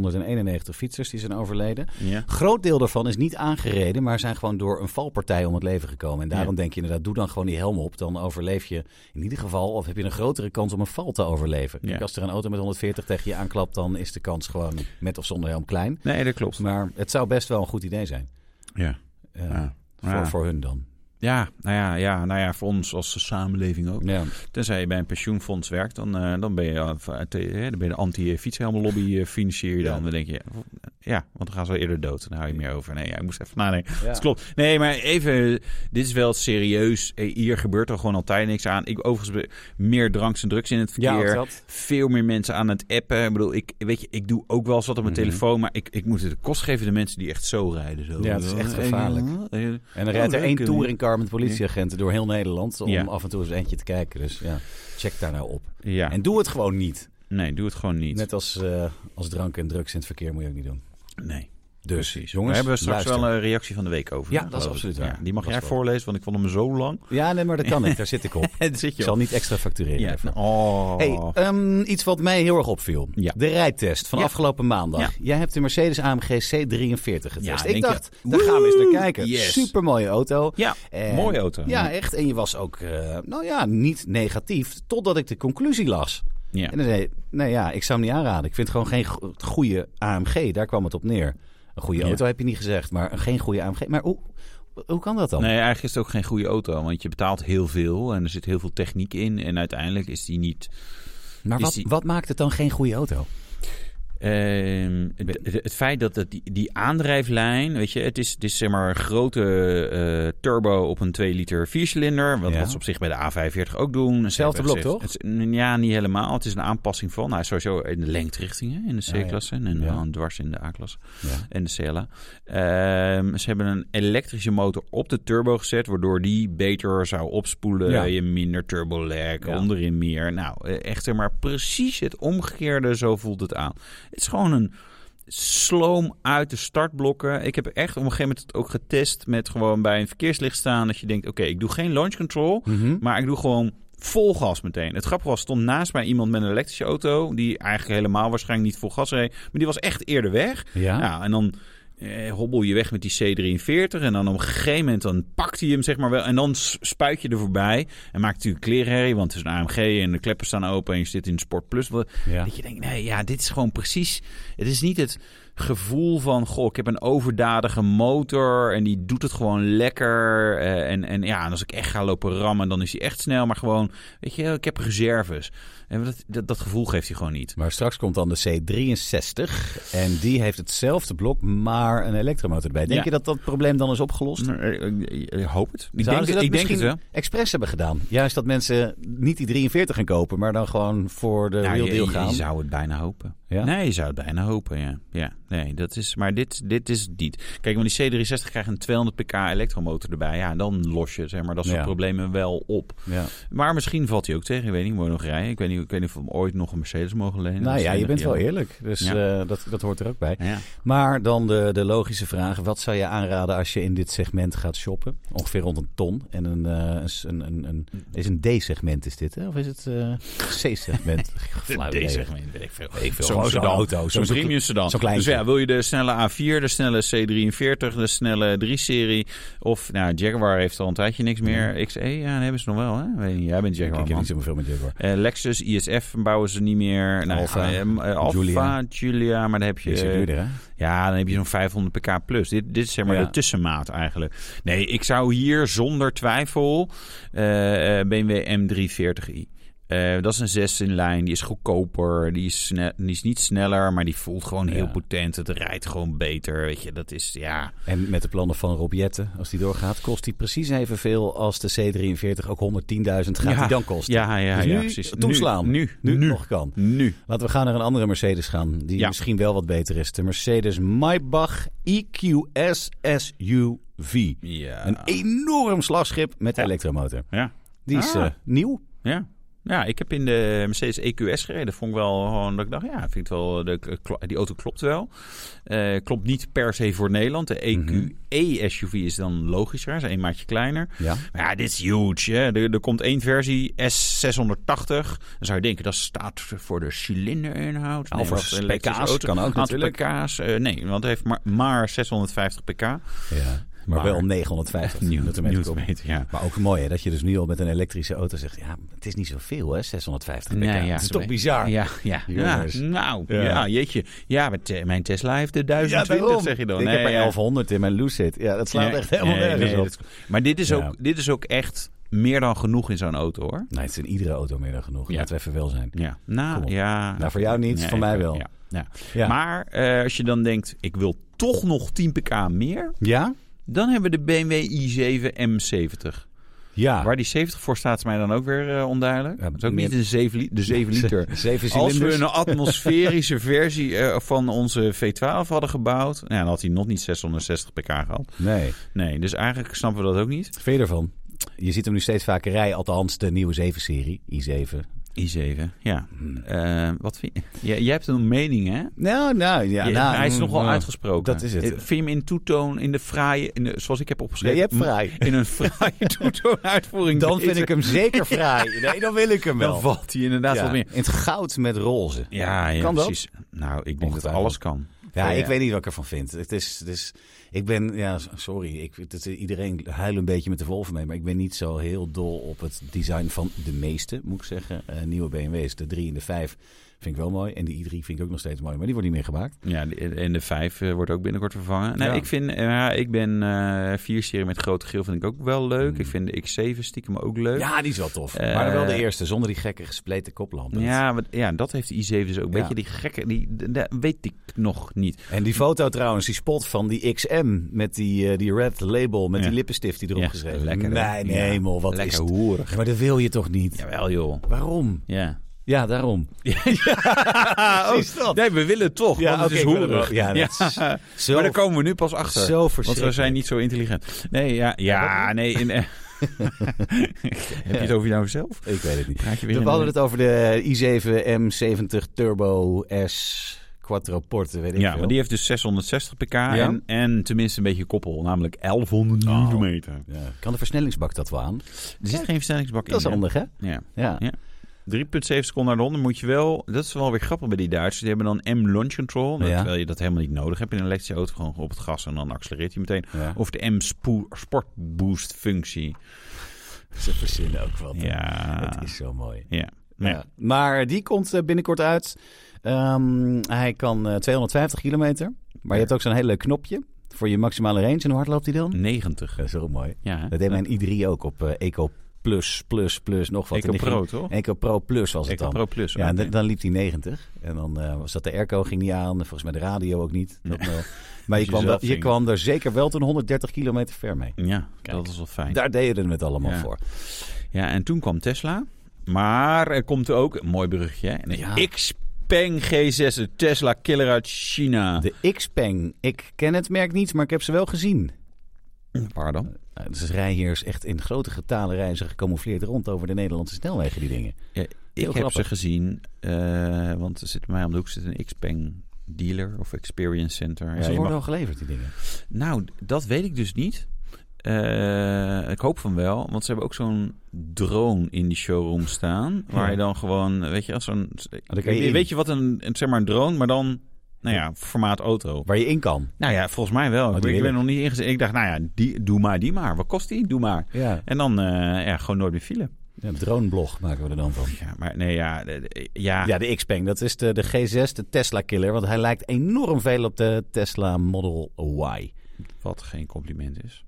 Speaker 1: 291 fietsers die zijn overleden.
Speaker 2: Ja.
Speaker 1: groot deel daarvan is niet aangereden, maar zijn gewoon door een valpartij om het leven gekomen. En daarom
Speaker 2: Ja.
Speaker 1: denk je inderdaad, doe dan gewoon die helm op. Dan overleef je in ieder geval, of heb je een grotere kans om een val te overleven.
Speaker 2: Ja.
Speaker 1: Kijk, Als er een auto met 140 tegen je aanklapt, dan is de kans gewoon met of zonder helm klein.
Speaker 2: Nee, dat klopt.
Speaker 1: Maar het zou best wel een goed idee zijn.
Speaker 2: Ja.
Speaker 1: Eh,
Speaker 2: Ja.
Speaker 1: Voor,
Speaker 2: Ja.
Speaker 1: voor hun dan.
Speaker 2: Ja, nou ja, ja, nou ja, voor ons als samenleving ook.
Speaker 1: Ja.
Speaker 2: Tenzij je bij een pensioenfonds werkt, dan, eh, dan ben je eh, van- eh, te- eh, dan ben je de anti-fietshelmenlobby eh, financier je dan.
Speaker 1: Ja.
Speaker 2: Dan denk je, ja, want dan gaan ze wel eerder dood. Dan hou je meer over. Nee, ja, ik moest even nadenken.
Speaker 1: Ja.
Speaker 2: Dat klopt. Nee, maar even, eh, dit is wel serieus. Eh, Hier gebeurt er gewoon altijd niks aan. Ik overigens be- meer dranks en drugs in het
Speaker 1: Ja, ook
Speaker 2: verkeer.
Speaker 1: dat.
Speaker 2: veel meer mensen aan het appen. Ik bedoel, ik, weet je, ik doe ook wel eens wat op mijn
Speaker 1: Mhm.
Speaker 2: telefoon, maar ik, ik moet het de kost geven de mensen die echt zo rijden. Zo.
Speaker 1: Ja, het is echt gevaarlijk.
Speaker 2: Eh,
Speaker 1: En er
Speaker 2: Oh,
Speaker 1: rijdt er
Speaker 2: leuk,
Speaker 1: één
Speaker 2: eh,
Speaker 1: touringcar met politieagenten door heel Nederland om
Speaker 2: Ja.
Speaker 1: af en toe eens eentje te kijken. Dus ja, check daar nou op.
Speaker 2: Ja,
Speaker 1: En doe het gewoon niet.
Speaker 2: nee, doe het gewoon niet.
Speaker 1: Net als, eh, als drank en drugs in het verkeer moet je ook niet doen.
Speaker 2: Nee.
Speaker 1: Dus
Speaker 2: Precies.
Speaker 1: jongens,
Speaker 2: we hebben straks
Speaker 1: luister.
Speaker 2: wel een reactie van de week over.
Speaker 1: Ja,
Speaker 2: hè,
Speaker 1: dat is
Speaker 2: geloof ik.
Speaker 1: absoluut waar.
Speaker 2: die mag
Speaker 1: Dat
Speaker 2: jij
Speaker 1: is wel-
Speaker 2: voorlezen, want ik vond hem zo lang.
Speaker 1: Ja, nee, maar dat kan ik. Daar zit ik op.
Speaker 2: En zit
Speaker 1: Ik zal niet extra factureren.
Speaker 2: eh, Ja,
Speaker 1: daarvoor.
Speaker 2: oh.
Speaker 1: Hey, ehm, iets wat mij heel erg opviel.
Speaker 2: Ja.
Speaker 1: De rijtest van
Speaker 2: Ja.
Speaker 1: afgelopen maandag.
Speaker 2: Ja.
Speaker 1: Jij hebt de Mercedes AMG C43 getest.
Speaker 2: Ja, denk
Speaker 1: ik
Speaker 2: je,
Speaker 1: dacht, daar gaan we eens
Speaker 2: woe,
Speaker 1: naar kijken.
Speaker 2: yes.
Speaker 1: Supermooie auto.
Speaker 2: ja,
Speaker 1: En-
Speaker 2: mooie auto.
Speaker 1: Ja, echt. En je was ook, eh, nou ja, niet negatief. Totdat ik de conclusie las.
Speaker 2: ja.
Speaker 1: En dan zei je, nee ja, ik zou hem niet aanraden. Ik vind gewoon geen go- goede AMG. Daar kwam het op neer. Een goede
Speaker 2: Ja.
Speaker 1: auto heb je niet gezegd, maar geen goede AMG. Maar hoe, hoe kan dat dan?
Speaker 2: Nee, eigenlijk is het ook geen goede auto, want je betaalt heel veel en er zit heel veel techniek in. En uiteindelijk is die niet.
Speaker 1: maar
Speaker 2: is
Speaker 1: wat,
Speaker 2: die-
Speaker 1: wat maakt het dan geen goede auto?
Speaker 2: Ehm, d- d- het feit dat het die, die aandrijflijn, weet je, het is, het is zeg maar een grote eh, turbo op een 2 liter viercilinder. Wat,
Speaker 1: Ja.
Speaker 2: wat ze op zich bij de A45 ook doen.
Speaker 1: Hetzelfde
Speaker 2: Ze hebben
Speaker 1: blok,
Speaker 2: gezegd- het is- ja, niet helemaal. Het is een aanpassing van. Hij is sowieso in de lengterichting hè, in
Speaker 1: Ja,
Speaker 2: de
Speaker 1: ja.
Speaker 2: C-klasse en
Speaker 1: Ja.
Speaker 2: dan dwars in de A-klasse.
Speaker 1: Ja.
Speaker 2: en de CLA. Ehm, ze hebben een elektrische motor op de turbo gezet, waardoor die beter zou opspoelen.
Speaker 1: Ja.
Speaker 2: Je minder turbo lag,
Speaker 1: Ja.
Speaker 2: onderin meer. Nou, eh, echt zeg maar precies het omgekeerde, zo voelt het aan. Het is gewoon een sloom uit de startblokken. Ik heb echt op een gegeven moment het ook getest met gewoon bij een verkeerslicht staan. Dat je denkt, oké, ik doe geen launch control,
Speaker 1: Mhm.
Speaker 2: maar ik doe gewoon vol gas meteen. Het grappige was, stond naast mij iemand met een elektrische auto... die eigenlijk helemaal waarschijnlijk niet vol gas reed. Maar die was echt eerder weg.
Speaker 1: Ja.
Speaker 2: Ja, en dan eh, hobbel je weg met die C43. En dan op een gegeven moment dan pakt hij hem zeg maar wel. En dan s- spuit je er voorbij. En maakt natuurlijk klerenherrie, want het is een AMG en de kleppen staan open. En je zit in Sport Plus. Wat-
Speaker 1: Ja.
Speaker 2: Dat je denkt, nee, ja, dit is gewoon precies... Het is niet het gevoel van, goh, ik heb een overdadige motor... en die doet het gewoon lekker. eh, en, en ja, en als ik echt ga lopen rammen, dan is hij echt snel. Maar gewoon, weet je, ik heb reserves. En dat, dat, dat gevoel geeft hij gewoon niet.
Speaker 1: Maar straks komt dan de C63 en die heeft hetzelfde blok, maar een elektromotor erbij. Denk
Speaker 2: Ja.
Speaker 1: je dat dat probleem dan is opgelost?
Speaker 2: eh, Ik hoop het. Ik denk,
Speaker 1: Zouden ze dat
Speaker 2: ik denk
Speaker 1: misschien
Speaker 2: het wel.
Speaker 1: expres hebben gedaan? Juist dat mensen niet die 43 gaan kopen, maar dan gewoon voor de
Speaker 2: Nou,
Speaker 1: real
Speaker 2: je-
Speaker 1: deal
Speaker 2: je,
Speaker 1: gaan.
Speaker 2: Je zou het bijna hopen.
Speaker 1: Ja?
Speaker 2: Nee, je zou het bijna hopen, ja. ja nee, dat is, maar dit, dit is het niet. Kijk, want die C63 krijgt een 200 pk elektromotor erbij. Ja, dan los je zeg maar, dat soort
Speaker 1: Ja.
Speaker 2: problemen wel op.
Speaker 1: Ja. Nou
Speaker 2: Maar misschien valt hij ook tegen. Ik weet niet, moet je nog rijden. Ik weet niet, ik weet niet of we hem ooit nog een Mercedes mogen lenen.
Speaker 1: Nou
Speaker 2: Dat
Speaker 1: ja,
Speaker 2: is
Speaker 1: je bent wel
Speaker 2: jammer.
Speaker 1: eerlijk. Dus eh, dat, dat hoort er ook bij.
Speaker 2: Ja.
Speaker 1: Maar dan de, de logische vraag. Wat zou je aanraden als je in dit segment gaat shoppen? Ongeveer rond een ton. En een, eh, een, een, een, een- is een D-segment is dit, hè? Of is het eh, C-segment? Flauw idee.
Speaker 2: Deze segment, weet ik veel.
Speaker 1: Weet ik veel.
Speaker 2: Zo'n
Speaker 1: Gewoon zo'n
Speaker 2: sedan.
Speaker 1: auto,
Speaker 2: Zo'n
Speaker 1: zo'n-
Speaker 2: premium sedan.
Speaker 1: zo'n klein
Speaker 2: dus ja, wil je de snelle A4, de snelle C43, de snelle 3-serie... of, nou, Jaguar heeft al een tijdje niks meer. XE, ja, dat hebben ze nog wel, hè? Weet niet, jij bent
Speaker 1: Ik
Speaker 2: Jaguar,
Speaker 1: heb
Speaker 2: man.
Speaker 1: niet zoveel met Jaguar.
Speaker 2: Eh, Lexus, ISF bouwen ze niet meer. Nou,
Speaker 1: Alfa,
Speaker 2: eh, eh, Alfa,
Speaker 1: Julia.
Speaker 2: Julia. maar dan heb je...
Speaker 1: Die is
Speaker 2: eh,
Speaker 1: duurder, hè?
Speaker 2: ja, dan heb je zo'n 500 pk plus. Dit, dit is zeg maar
Speaker 1: Ja.
Speaker 2: de tussenmaat eigenlijk. Nee, ik zou hier zonder twijfel eh, eh, BMW M340i. Eh, dat is een 6 in lijn, die is goedkoper, die is, sne- die is niet sneller, maar die voelt gewoon heel
Speaker 1: Ja.
Speaker 2: potent. Het rijdt gewoon beter, weet je. Dat is, ja...
Speaker 1: En met de plannen van Rob Jetten, als die doorgaat, kost die precies evenveel als de C43 ook 110.000 gaat
Speaker 2: Ja.
Speaker 1: die dan kosten.
Speaker 2: Ja, ja,
Speaker 1: Dus
Speaker 2: ja,
Speaker 1: nu
Speaker 2: precies.
Speaker 1: toeslaan.
Speaker 2: Nu,
Speaker 1: Nu,
Speaker 2: nu, nu.
Speaker 1: nog kan.
Speaker 2: nu.
Speaker 1: Laten we gaan naar een andere Mercedes gaan, die
Speaker 2: Ja.
Speaker 1: misschien wel wat beter is. De Mercedes Maybach E EQS SUV.
Speaker 2: Ja.
Speaker 1: Een enorm slagschip met de elektromotor.
Speaker 2: ja.
Speaker 1: Die is
Speaker 2: Ah.
Speaker 1: eh, nieuw.
Speaker 2: Ja. Ja, ik heb in de Mercedes EQS gereden. Vond ik wel gewoon dat ik dacht, ja, vind ik het wel, de, die auto klopt wel. Eh, klopt niet per se voor Nederland. De E EQE-SUV is dan logischer, is een maatje kleiner.
Speaker 1: Mhm. Ja.
Speaker 2: Maar ja, dit is huge. Hè? Er, er komt één versie, S680. Dan zou je denken, dat staat voor de cilinderinhoud.
Speaker 1: Of voor
Speaker 2: wat een
Speaker 1: pk's,
Speaker 2: elektrische auto.
Speaker 1: kan ook
Speaker 2: Aantal
Speaker 1: natuurlijk.
Speaker 2: pk's, eh, nee, want het heeft maar, maar 650 pk.
Speaker 1: ja. Maar,
Speaker 2: Maar-
Speaker 1: wel 950 newtonmeter. kom.
Speaker 2: Newtonmeter, ja.
Speaker 1: Maar ook mooi hè, dat je dus nu al met een elektrische auto zegt... ja, het is niet zoveel hè, 650 pk.
Speaker 2: Nee, ja.
Speaker 1: Het is toch bizar?
Speaker 2: Ja, ja. ja
Speaker 1: Jongens.
Speaker 2: nou,
Speaker 1: Ja.
Speaker 2: ja. jeetje. Ja, maar te- mijn Tesla heeft de
Speaker 1: daarom.
Speaker 2: 1020, zeg je dan.
Speaker 1: Ik heb er
Speaker 2: ja.
Speaker 1: 1100 in mijn Lucid. Ja, dat slaat
Speaker 2: Nee,
Speaker 1: echt helemaal
Speaker 2: nee,
Speaker 1: nergens
Speaker 2: nee,
Speaker 1: op.
Speaker 2: dat is- maar dit is,
Speaker 1: Ja.
Speaker 2: ook, dit is ook echt meer dan genoeg in zo'n auto, hoor.
Speaker 1: Nee, het is in iedere auto meer dan genoeg.
Speaker 2: Ja.
Speaker 1: Laten we even wel zijn.
Speaker 2: Ja.
Speaker 1: Kom
Speaker 2: Nou,
Speaker 1: op.
Speaker 2: ja.
Speaker 1: Nou, voor jou niet,
Speaker 2: Nee,
Speaker 1: voor mij
Speaker 2: ik-
Speaker 1: wel.
Speaker 2: Ja. ja.
Speaker 1: Ja.
Speaker 2: Maar eh, als je dan denkt, ik wil toch nog 10 pk meer,
Speaker 1: Ja?
Speaker 2: dan hebben we de BMW i7 M70.
Speaker 1: Ja.
Speaker 2: Waar die 70 voor staat, is mij dan ook weer eh, onduidelijk.
Speaker 1: Ah. Ja,
Speaker 2: dat is ook
Speaker 1: meer-
Speaker 2: niet een 7 li- de 7 liter.
Speaker 1: Zeven
Speaker 2: Als we
Speaker 1: cilinders.
Speaker 2: een atmosferische versie eh, van onze V12 hadden gebouwd, nou, dan had hij nog niet 660 pk gehad.
Speaker 1: Nee.
Speaker 2: Nee, dus eigenlijk snappen we dat ook niet.
Speaker 1: Verder van. Je ziet hem nu steeds vaker rijden. Althans, de nieuwe 7-serie. i7.
Speaker 2: i7, ja.
Speaker 1: Hmm.
Speaker 2: Eh, wat vind je? Jij- jij hebt een mening, hè?
Speaker 1: Nou, nou, ja.
Speaker 2: Je-
Speaker 1: nou,
Speaker 2: hij is
Speaker 1: mm,
Speaker 2: nogal
Speaker 1: mm.
Speaker 2: uitgesproken.
Speaker 1: Dat is het.
Speaker 2: Eh, Vind je hem in toetoon, in de fraaie, in de, zoals ik heb
Speaker 1: Ja,
Speaker 2: opgeschreven?
Speaker 1: je hebt fraai.
Speaker 2: In een fraaie toetoon uitvoering.
Speaker 1: Dan vind ik hem zeker fraai. Nee, dan wil ik hem wel.
Speaker 2: Dan valt hij inderdaad
Speaker 1: Ja,
Speaker 2: wat meer.
Speaker 1: In het goud met roze.
Speaker 2: Ja, ja
Speaker 1: Kan dat?
Speaker 2: precies. Nou, ik denk dat
Speaker 1: Ongetwijfeld.
Speaker 2: alles kan.
Speaker 1: Ja,
Speaker 2: Ja,
Speaker 1: ik
Speaker 2: ja.
Speaker 1: weet niet wat ik ervan vind. Het is, het is, ik ben, ja, s- sorry, ik, het, is- iedereen huilt een beetje met de wolven mee, maar ik ben niet zo heel dol op het design van de meeste, moet ik zeggen. Eh, nieuwe BMW's, de 3 en de 5 vind ik wel mooi. En de i3 vind ik ook nog steeds mooi, maar die wordt niet meer gemaakt.
Speaker 2: Ja, de- en de 5 wordt ook binnenkort vervangen. Nee,
Speaker 1: Ja.
Speaker 2: ik vind, ja, ik ben eh 4-serie met grote geel vind ik ook wel leuk.
Speaker 1: Mm.
Speaker 2: Ik vind de X7 stiekem ook leuk.
Speaker 1: Ja, die is wel tof.
Speaker 2: Eh,
Speaker 1: maar wel de eerste, zonder die gekke gespleten koplampen.
Speaker 2: Ja, want- ja, dat heeft de i7 dus ook.
Speaker 1: Ja.
Speaker 2: Weet je, die gekke, die, d- d- weet ik nog niet.
Speaker 1: En die foto trouwens, die spot van die XM met die, eh, die red label, met
Speaker 2: Ja.
Speaker 1: die lippenstift die erop
Speaker 2: Ja,
Speaker 1: geschreven
Speaker 2: lekker, hè?
Speaker 1: Mijn
Speaker 2: Ja.
Speaker 1: hemel, wat
Speaker 2: Lekker
Speaker 1: is het?
Speaker 2: hoerig.
Speaker 1: Ja, maar dat wil je toch niet?
Speaker 2: Jawel, joh.
Speaker 1: Waarom?
Speaker 2: Ja.
Speaker 1: Ja, daarom.
Speaker 2: ja,
Speaker 1: Precies dat.
Speaker 2: Nee, we willen het toch,
Speaker 1: Ja,
Speaker 2: ja, want het
Speaker 1: oké,
Speaker 2: is
Speaker 1: ik wil
Speaker 2: hoerig.
Speaker 1: het wel. Ja, dat is Zo,
Speaker 2: Maar daar komen we nu pas achter.
Speaker 1: zo
Speaker 2: want
Speaker 1: verschrikkelijk.
Speaker 2: we zijn niet zo intelligent. Nee, ja,
Speaker 1: Ja,
Speaker 2: ja nee. In, eh, heb je het over jou zelf?
Speaker 1: Ik weet het niet.
Speaker 2: Praat je weer
Speaker 1: We
Speaker 2: in-
Speaker 1: hadden het over de i7
Speaker 2: eh,
Speaker 1: M70 Turbo S Quattroporte, weet ik
Speaker 2: Ja,
Speaker 1: veel.
Speaker 2: maar die heeft dus 660 pk en, en tenminste een beetje koppel, namelijk 1100
Speaker 1: Oh.
Speaker 2: kilometer.
Speaker 1: Ja. Kan de versnellingsbak dat wel aan?
Speaker 2: Er zit geen versnellingsbak in.
Speaker 1: Dat is
Speaker 2: hè?
Speaker 1: handig, hè?
Speaker 2: Ja.
Speaker 1: Ja.
Speaker 2: Ja. 3,7 seconden naar de 100 moet je wel... Dat is wel weer grappig bij die Duitsers. Die hebben dan M launch control. nou,
Speaker 1: Ja.
Speaker 2: Terwijl je dat helemaal niet nodig hebt in een elektrische auto. Gewoon op het gas en dan accelereert hij meteen.
Speaker 1: Ja.
Speaker 2: Of de M spo- sport boost functie.
Speaker 1: Ze verzinnen ook wat. hè?
Speaker 2: Ja.
Speaker 1: Het is zo mooi.
Speaker 2: Ja.
Speaker 1: Ja.
Speaker 2: Ja.
Speaker 1: Maar die komt eh, binnenkort uit. Ehm, hij kan eh, 250 kilometer. Maar je hebt ook zo'n heel leuk knopje voor je maximale range. En hoe hard loopt die
Speaker 2: Mm.
Speaker 1: dan?
Speaker 2: 90.
Speaker 1: Dat is ook mooi.
Speaker 2: Ja, hè?
Speaker 1: Dat deed mijn i3 ook op eh, Eco Plus, Plus, Plus, nog wat. En
Speaker 2: Eco
Speaker 1: die
Speaker 2: Pro, toch?
Speaker 1: ging- Eco Pro Plus was het
Speaker 2: Eco
Speaker 1: dan.
Speaker 2: Pro Plus.
Speaker 1: Ja, en
Speaker 2: oké.
Speaker 1: dan, dan liep hij 90. En dan eh, was dat de airco ging niet aan. Volgens mij de radio ook niet. Dat, eh, maar je
Speaker 2: je
Speaker 1: kwam, wel,
Speaker 2: zelf
Speaker 1: je
Speaker 2: ging.
Speaker 1: kwam er zeker wel toen 130 kilometer ver mee.
Speaker 2: ja dat is wel fijn.
Speaker 1: Daar deden we het allemaal
Speaker 2: Ja.
Speaker 1: voor.
Speaker 2: Ja, en toen kwam Tesla. Maar er komt ook, een mooi brugje, hè? een
Speaker 1: Ja.
Speaker 2: Xpeng G6, de Tesla killer uit China.
Speaker 1: De Xpeng. Ik ken het merk niet, maar ik heb ze wel gezien.
Speaker 2: Waar dan?
Speaker 1: Nou, dus rijheers echt in grote getalen reizen gecamoufleerd rond over de Nederlandse snelwegen, die dingen.
Speaker 2: Ik heb
Speaker 1: grappig.
Speaker 2: ze gezien, eh, want er zit bij mij om de hoek zit een Xpeng dealer of experience center.
Speaker 1: ze
Speaker 2: Ja, je
Speaker 1: worden
Speaker 2: mag-
Speaker 1: al geleverd, die dingen.
Speaker 2: Nou, dat weet ik dus niet. Eh, ik hoop van wel, want ze hebben ook zo'n drone in die showroom staan. Waar
Speaker 1: Ja.
Speaker 2: je dan gewoon, weet je, als zo'n.
Speaker 1: daar kan je in.
Speaker 2: weet je wat een, een- zeg maar een drone, maar dan, nou ja, formaat auto.
Speaker 1: Waar je in kan.
Speaker 2: Nou ja, volgens mij wel.
Speaker 1: die
Speaker 2: ik, ben- ik
Speaker 1: wil
Speaker 2: ben
Speaker 1: ik.
Speaker 2: nog niet ingezet. Ik dacht, nou ja, die, doe maar die maar. Wat kost die? Doe maar.
Speaker 1: Ja.
Speaker 2: En dan eh, ja, gewoon nooit meer file.
Speaker 1: ja droneblog maken we er dan van.
Speaker 2: Ja, maar nee, ja. de- de- ja.
Speaker 1: Ja, de Xpeng. Dat is de, de G6, de Tesla-killer. Want hij lijkt enorm veel op de Tesla Model Y.
Speaker 2: Wat geen compliment is.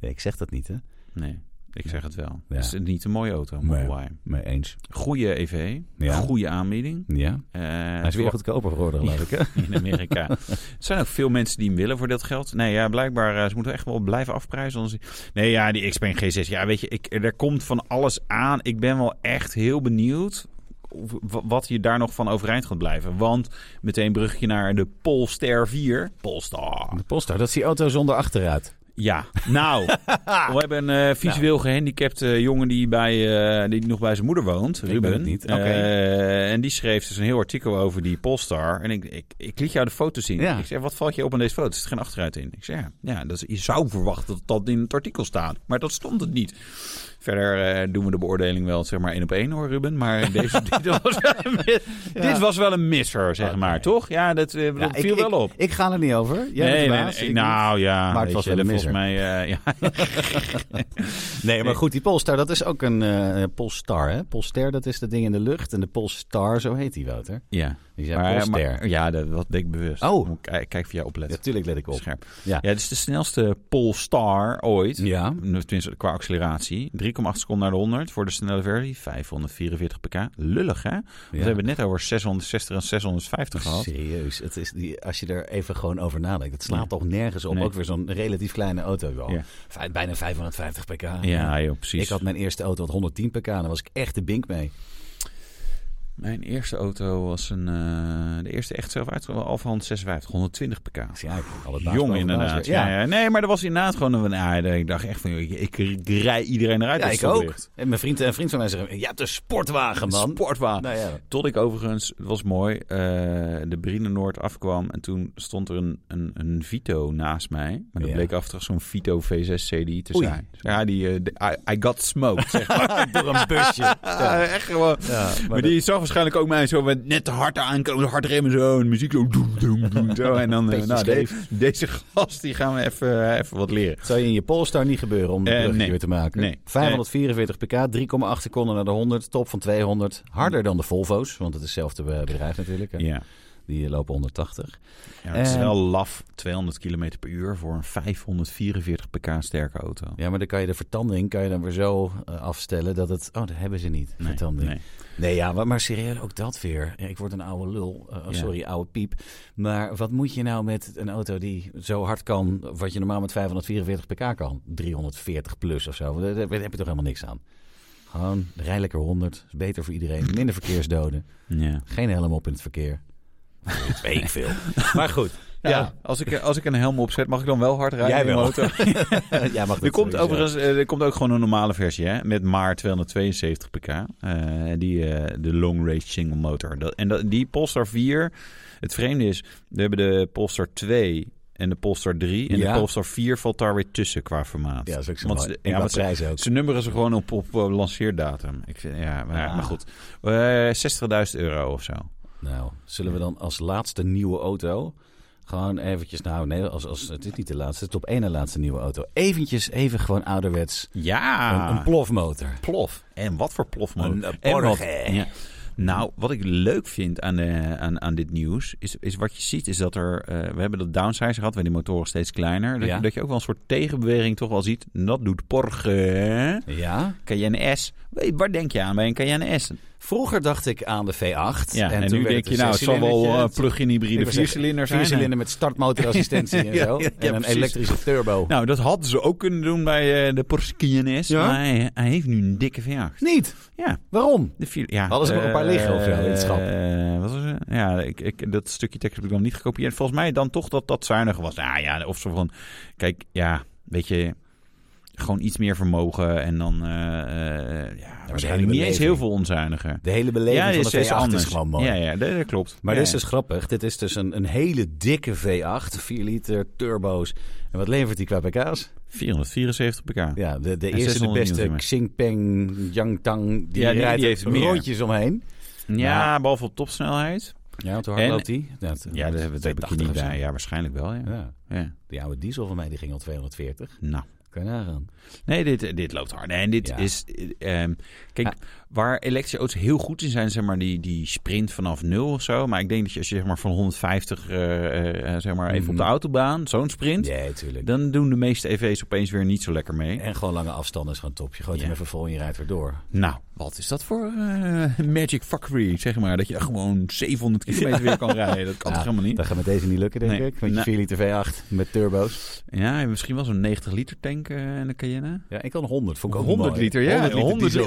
Speaker 1: Nee, ik zeg dat niet, hè?
Speaker 2: Nee, ik zeg het wel.
Speaker 1: Ja.
Speaker 2: Het is niet een mooie auto,
Speaker 1: Nee.
Speaker 2: Model Y.
Speaker 1: Mee eens.
Speaker 2: Goede EV,
Speaker 1: Ja.
Speaker 2: goede aanbieding.
Speaker 1: Ja.
Speaker 2: Eh,
Speaker 1: Hij is weer goedkoper geworden, geloof ik. hè?
Speaker 2: in Amerika. er zijn ook veel mensen die hem willen voor dat geld. Nee, ja, blijkbaar eh, ze moeten echt wel blijven afprijzen. Anders... Nee, ja, die Xpeng G6. Ja, weet je, ik, er komt van alles aan. Ik ben wel echt heel benieuwd of- wa- wat je daar nog van overeind gaat blijven. Want meteen brugje naar de Polestar 4. Polestar.
Speaker 1: De Polestar, dat is die auto zonder achteruit.
Speaker 2: Ja, nou, we hebben een eh, visueel
Speaker 1: Nou.
Speaker 2: gehandicapte jongen die, bij, eh, die nog bij zijn moeder woont, Ruben.
Speaker 1: ben het niet. Oké.
Speaker 2: Eh, en die schreef dus een heel artikel over die Polestar. En ik, ik, ik liet jou de foto zien.
Speaker 1: Ja.
Speaker 2: Ik zei, wat valt je op aan deze foto? Er zit geen achteruit in. Ik zei, ja, ja dat is, je zou verwachten dat dat in het artikel staat. Maar dat stond het niet. Verder eh, doen we de beoordeling wel zeg maar één op één hoor, Ruben. Maar deze, dit, was wel een, mi- dit was wel een misser, zeg
Speaker 1: Oké.
Speaker 2: maar, toch? Ja, dat, eh,
Speaker 1: Ja,
Speaker 2: dat viel wel op.
Speaker 1: Ik, ga er niet over. Jij bent
Speaker 2: nee,
Speaker 1: de
Speaker 2: nee,
Speaker 1: baas,
Speaker 2: nee,
Speaker 1: ik niet.
Speaker 2: nou ja,
Speaker 1: Maar het
Speaker 2: weet
Speaker 1: was
Speaker 2: je,
Speaker 1: wel een
Speaker 2: volgens mij, eh, ja,
Speaker 1: Nee, maar goed, die Polestar, dat is ook een eh Polestar, hè? Polster, dat is dat ding in de lucht. En de Polestar, zo heet die, Wouter.
Speaker 2: Ja.
Speaker 1: Die zijn
Speaker 2: eh,
Speaker 1: Polster.
Speaker 2: ja, dat wat denk ik bewust.
Speaker 1: Oh.
Speaker 2: Moet ik- Kijk, kijk voor jou opletten.
Speaker 1: Natuurlijk let ik op.
Speaker 2: Scherp.
Speaker 1: Ja.
Speaker 2: Ja. het is de snelste Polestar ooit.
Speaker 1: Ja.
Speaker 2: Tenminste, qua acceleratie. 3,8 seconden naar de 100 voor de snelle versie. 544 pk. Lullig, hè? We
Speaker 1: Ja.
Speaker 2: hebben het net over 660 en 650 gehad.
Speaker 1: Serieus, het is die, als je er even gewoon over nadenkt, het slaat toch nergens op.
Speaker 2: Nee.
Speaker 1: Ook weer zo'n relatief kleine auto. wel.
Speaker 2: Ja.
Speaker 1: Vij- Bijna 550 pk.
Speaker 2: Ja, joh, precies.
Speaker 1: Ik had mijn eerste auto wat 110 pk, daar was ik echt de bink mee.
Speaker 2: Mijn eerste auto was een, eh, de eerste echt zelf uitgekomen, Alfa 156, 120 pk.
Speaker 1: Ja, al het baas
Speaker 2: Jong
Speaker 1: boven
Speaker 2: inderdaad.
Speaker 1: baas.
Speaker 2: Ja.
Speaker 1: Ja.
Speaker 2: ja, Nee, maar er was inderdaad gewoon een... ja, ik dacht echt van, joh, ik, ik rij iedereen eruit.
Speaker 1: Ja,
Speaker 2: als
Speaker 1: ik
Speaker 2: het
Speaker 1: ook.
Speaker 2: stoplicht.
Speaker 1: En mijn vriend, een vriend van mij zegt, je hebt een sportwagen, man.
Speaker 2: Sportwagen.
Speaker 1: Nou ja.
Speaker 2: Tot ik overigens, het was mooi, eh, de Brine Noord afkwam. En toen stond er een, een, een Vito naast mij. Maar dat
Speaker 1: Ja.
Speaker 2: bleek af en toe zo'n Vito V6 CDI te
Speaker 1: Oei.
Speaker 2: zijn. Ja, die, eh, de- I, I got smoked, zeg maar.
Speaker 1: Door een busje. Ja.
Speaker 2: echt gewoon.
Speaker 1: Ja, maar
Speaker 2: Maar, die zag waarschijnlijk ook mij zo met net te hard aankomen, hard remmen zo. En muziek zo. Doem, doem, doem, zo. En dan, eh,
Speaker 1: Beetje
Speaker 2: nou, de-
Speaker 1: scheef.
Speaker 2: deze gast, die gaan we even, eh, even wat leren.
Speaker 1: dat zou je in je Polestar niet gebeuren om de
Speaker 2: Eh,
Speaker 1: brug
Speaker 2: nee.
Speaker 1: weer te maken.
Speaker 2: Nee.
Speaker 1: 544 pk, 3,8 seconden naar de 100, top van 200. Harder dan de Volvo's, want het is hetzelfde eh, bedrijf natuurlijk. hè.
Speaker 2: Ja.
Speaker 1: Die eh, lopen 180.
Speaker 2: Ja, het is
Speaker 1: Ehm.
Speaker 2: wel laf 200 km per uur voor een 544 pk sterke auto.
Speaker 1: Ja, maar dan kan je de vertanding kan je dan weer zo eh, afstellen dat het... Oh, dat hebben ze niet,
Speaker 2: Nee,
Speaker 1: vertanding.
Speaker 2: nee.
Speaker 1: Nee, ja, maar, maar serieus, ook dat weer. Ja, Ik word een oude lul. Eh, oh,
Speaker 2: Ja.
Speaker 1: Sorry, oude piep. Maar wat moet je nou met een auto die zo hard kan... wat je normaal met 544 pk kan? 340 plus of zo. Daar, daar heb je toch helemaal niks aan? Gewoon, rij lekker 100. Is beter voor iedereen. Minder verkeersdoden.
Speaker 2: Ja.
Speaker 1: Geen helm op in het verkeer. Dat weet ik veel. Maar goed.
Speaker 2: Ja. als, ik, als ik een helm opzet, mag ik dan wel hard rijden
Speaker 1: Jij
Speaker 2: in mijn
Speaker 1: wel.
Speaker 2: auto?
Speaker 1: Ja, jij mag
Speaker 2: er,
Speaker 1: dat
Speaker 2: komt
Speaker 1: sowieso.
Speaker 2: overigens, eh, er komt ook gewoon een normale versie, hè? Met maar 272 pk. Eh, die, eh, de long range single motor. Dat, en dat, die Polestar 4, het vreemde is, we hebben de Polestar 2 en de Polestar 3. En
Speaker 1: Ja.
Speaker 2: de Polestar 4 valt daar weer tussen qua formaat.
Speaker 1: Ja, dat is ook zo
Speaker 2: Want
Speaker 1: mooi.
Speaker 2: ze-
Speaker 1: En
Speaker 2: ja,
Speaker 1: qua
Speaker 2: want ze-
Speaker 1: prijs ook.
Speaker 2: Ze nummeren ze gewoon op, op eh, lanceerdatum. Ik vind, ja, maar,
Speaker 1: Ah.
Speaker 2: maar goed. Eh 60.000 euro of zo.
Speaker 1: Nou, zullen we dan als laatste nieuwe auto gewoon eventjes, nou nee, als, als, het is niet de laatste, het is op één na laatste nieuwe auto. Eventjes even gewoon ouderwets
Speaker 2: Ja!
Speaker 1: een, een plofmotor.
Speaker 2: plof. En wat voor plof, man.
Speaker 1: Een, eh,
Speaker 2: En wat-
Speaker 1: Porsche.
Speaker 2: ja. Nou, wat ik leuk vind aan, eh, aan, aan dit nieuws, is, is wat je ziet, is dat er... eh, we hebben dat downsize gehad, waar die motoren steeds kleiner. Dat,
Speaker 1: Ja.
Speaker 2: je, dat je ook wel een soort tegenbeweging toch wel ziet. En Dat doet Porsche.
Speaker 1: Ja.
Speaker 2: Cayenne S. Weet- Waar denk je aan bij een Cayenne S?
Speaker 1: Vroeger dacht ik aan de V8.
Speaker 2: Ja, en,
Speaker 1: toen
Speaker 2: nu
Speaker 1: werd
Speaker 2: denk
Speaker 1: een
Speaker 2: je, nou, het zal wel
Speaker 1: zescilindertje.
Speaker 2: eh, plug-in
Speaker 1: Ik
Speaker 2: hybride
Speaker 1: wou zeggen,
Speaker 2: viercilinder zijn.
Speaker 1: Viercilinder met startmotorassistentie en
Speaker 2: Ja,
Speaker 1: zo.
Speaker 2: ja, ja,
Speaker 1: en een
Speaker 2: precies.
Speaker 1: elektrische turbo.
Speaker 2: Nou, dat hadden ze ook kunnen doen bij eh, de Porsche Cayenne S.
Speaker 1: Ja?
Speaker 2: Maar hij, hij heeft nu een dikke V8.
Speaker 1: Niet.
Speaker 2: Ja,
Speaker 1: Waarom?
Speaker 2: de vier, ja.
Speaker 1: Hadden ze nog een paar
Speaker 2: eh,
Speaker 1: liggen of zo in het schap?
Speaker 2: eh, wat was het? Ja, ik, ik, dat stukje tekst heb ik dan niet gekopieerd. Volgens mij dan toch dat dat zuiniger was. Nou ja, of zo van... Kijk, ja, weet je... Gewoon iets meer vermogen en dan... eh, eh, ja, waarschijnlijk niet eens
Speaker 1: beleving.
Speaker 2: heel veel onzuiniger.
Speaker 1: De hele beleving
Speaker 2: ja,
Speaker 1: van de V8 is gewoon mooi.
Speaker 2: Ja, ja, dat, dat klopt.
Speaker 1: Maar
Speaker 2: ja,
Speaker 1: dit is dus grappig. Dit is dus een, een hele dikke V8, 4 liter, turbo's. En wat levert die qua pk's?
Speaker 2: 474 pk.
Speaker 1: Ja, de, de
Speaker 2: En
Speaker 1: eerste, de
Speaker 2: 600
Speaker 1: beste
Speaker 2: nieuwsnummer.
Speaker 1: Xingpeng, Yangtang, die
Speaker 2: Ja, die- die
Speaker 1: rijdt
Speaker 2: heeft meer.
Speaker 1: rondjes omheen.
Speaker 2: ja, behalve op topsnelheid.
Speaker 1: Ja, want hoe
Speaker 2: En-
Speaker 1: hard loopt die? Ja, het-
Speaker 2: Ja, dat heb, dat heb ik
Speaker 1: 280
Speaker 2: hier niet
Speaker 1: of zo.
Speaker 2: bij. Ja, waarschijnlijk wel, ja.
Speaker 1: Ja,
Speaker 2: ja.
Speaker 1: die oude diesel van mij die ging al 240.
Speaker 2: Nou,
Speaker 1: Kan je nagaan.
Speaker 2: nee, dit, dit loopt hard. Nee, En dit
Speaker 1: Ja.
Speaker 2: is... eh, ehm, kijk,
Speaker 1: Ja.
Speaker 2: waar elektrische auto's heel goed in zijn, zeg maar, die, die sprint vanaf nul of zo. Maar ik denk dat je als je zeg maar, van 150, eh, eh, zeg maar, even op de
Speaker 1: Mhm.
Speaker 2: autobaan, zo'n sprint...
Speaker 1: Nee, tuurlijk.
Speaker 2: Dan doen de meeste EV's opeens weer niet zo lekker mee.
Speaker 1: En gewoon lange afstanden is gewoon top. Je gooit
Speaker 2: Ja.
Speaker 1: hem even vol en je rijdt weer door.
Speaker 2: Nou, wat is dat voor eh, magic fuckery, zeg maar. Dat je gewoon 700 kilometer weer kan rijden. Dat kan
Speaker 1: Ja,
Speaker 2: toch helemaal niet?
Speaker 1: Dat gaat met deze niet lukken, denk
Speaker 2: Nee.
Speaker 1: ik. Met je
Speaker 2: Nee.
Speaker 1: 4 liter V8 met turbo's.
Speaker 2: Ja, misschien wel zo'n 90 liter tank eh in de Cayenne.
Speaker 1: Ja, ik kan 100. Vond ik ook
Speaker 2: 100
Speaker 1: mooi.
Speaker 2: liter, ja. 100 liter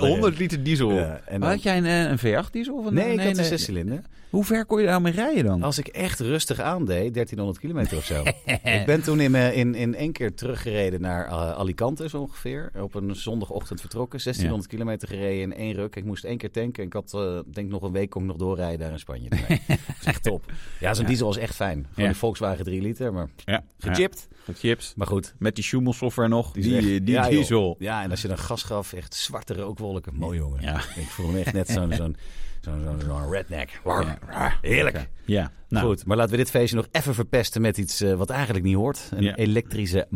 Speaker 2: 100,
Speaker 1: diesel,
Speaker 2: diesel.
Speaker 1: ja.
Speaker 2: Ja,
Speaker 1: Ja, en dan-
Speaker 2: Had jij een, eh, een V8 diesel? Of een,
Speaker 1: Nee, ik had een zescilinder.
Speaker 2: Hoe ver kon je daar mee rijden dan?
Speaker 1: Als ik echt rustig aandeed, 1300 kilometer of zo. ik ben toen in, eh, in, in één keer teruggereden naar eh, Alicante, zo ongeveer. Op een zondagochtend vertrokken. 1600 kilometer gereden in één ruk. Ik moest één keer tanken. En ik had, eh, denk nog een week kon ik nog doorrijden daar in Spanje. Nee, Dat is echt top. Ja, zo'n diesel was echt fijn. Gewoon
Speaker 2: Ja.
Speaker 1: die Volkswagen 3 liter, maar
Speaker 2: Ja,
Speaker 1: gechipt.
Speaker 2: ja, gechipt.
Speaker 1: Maar goed.
Speaker 2: Met die Schumel software nog. Die, eh,
Speaker 1: is echt-
Speaker 2: die, die
Speaker 1: ja, joh.
Speaker 2: diesel.
Speaker 1: Ja, en als je dan gas gaf, echt zwarte rookwolken. Mooi jongen.
Speaker 2: Ja.
Speaker 1: Ik voel me echt net zo'n zo'n zo'n zo'n zo'n redneck. Ah, Heerlijk.
Speaker 2: Ja, nou.
Speaker 1: Goed, maar laten we dit feestje nog even verpesten met iets eh, wat eigenlijk niet hoort. Een
Speaker 2: Ja.
Speaker 1: elektrische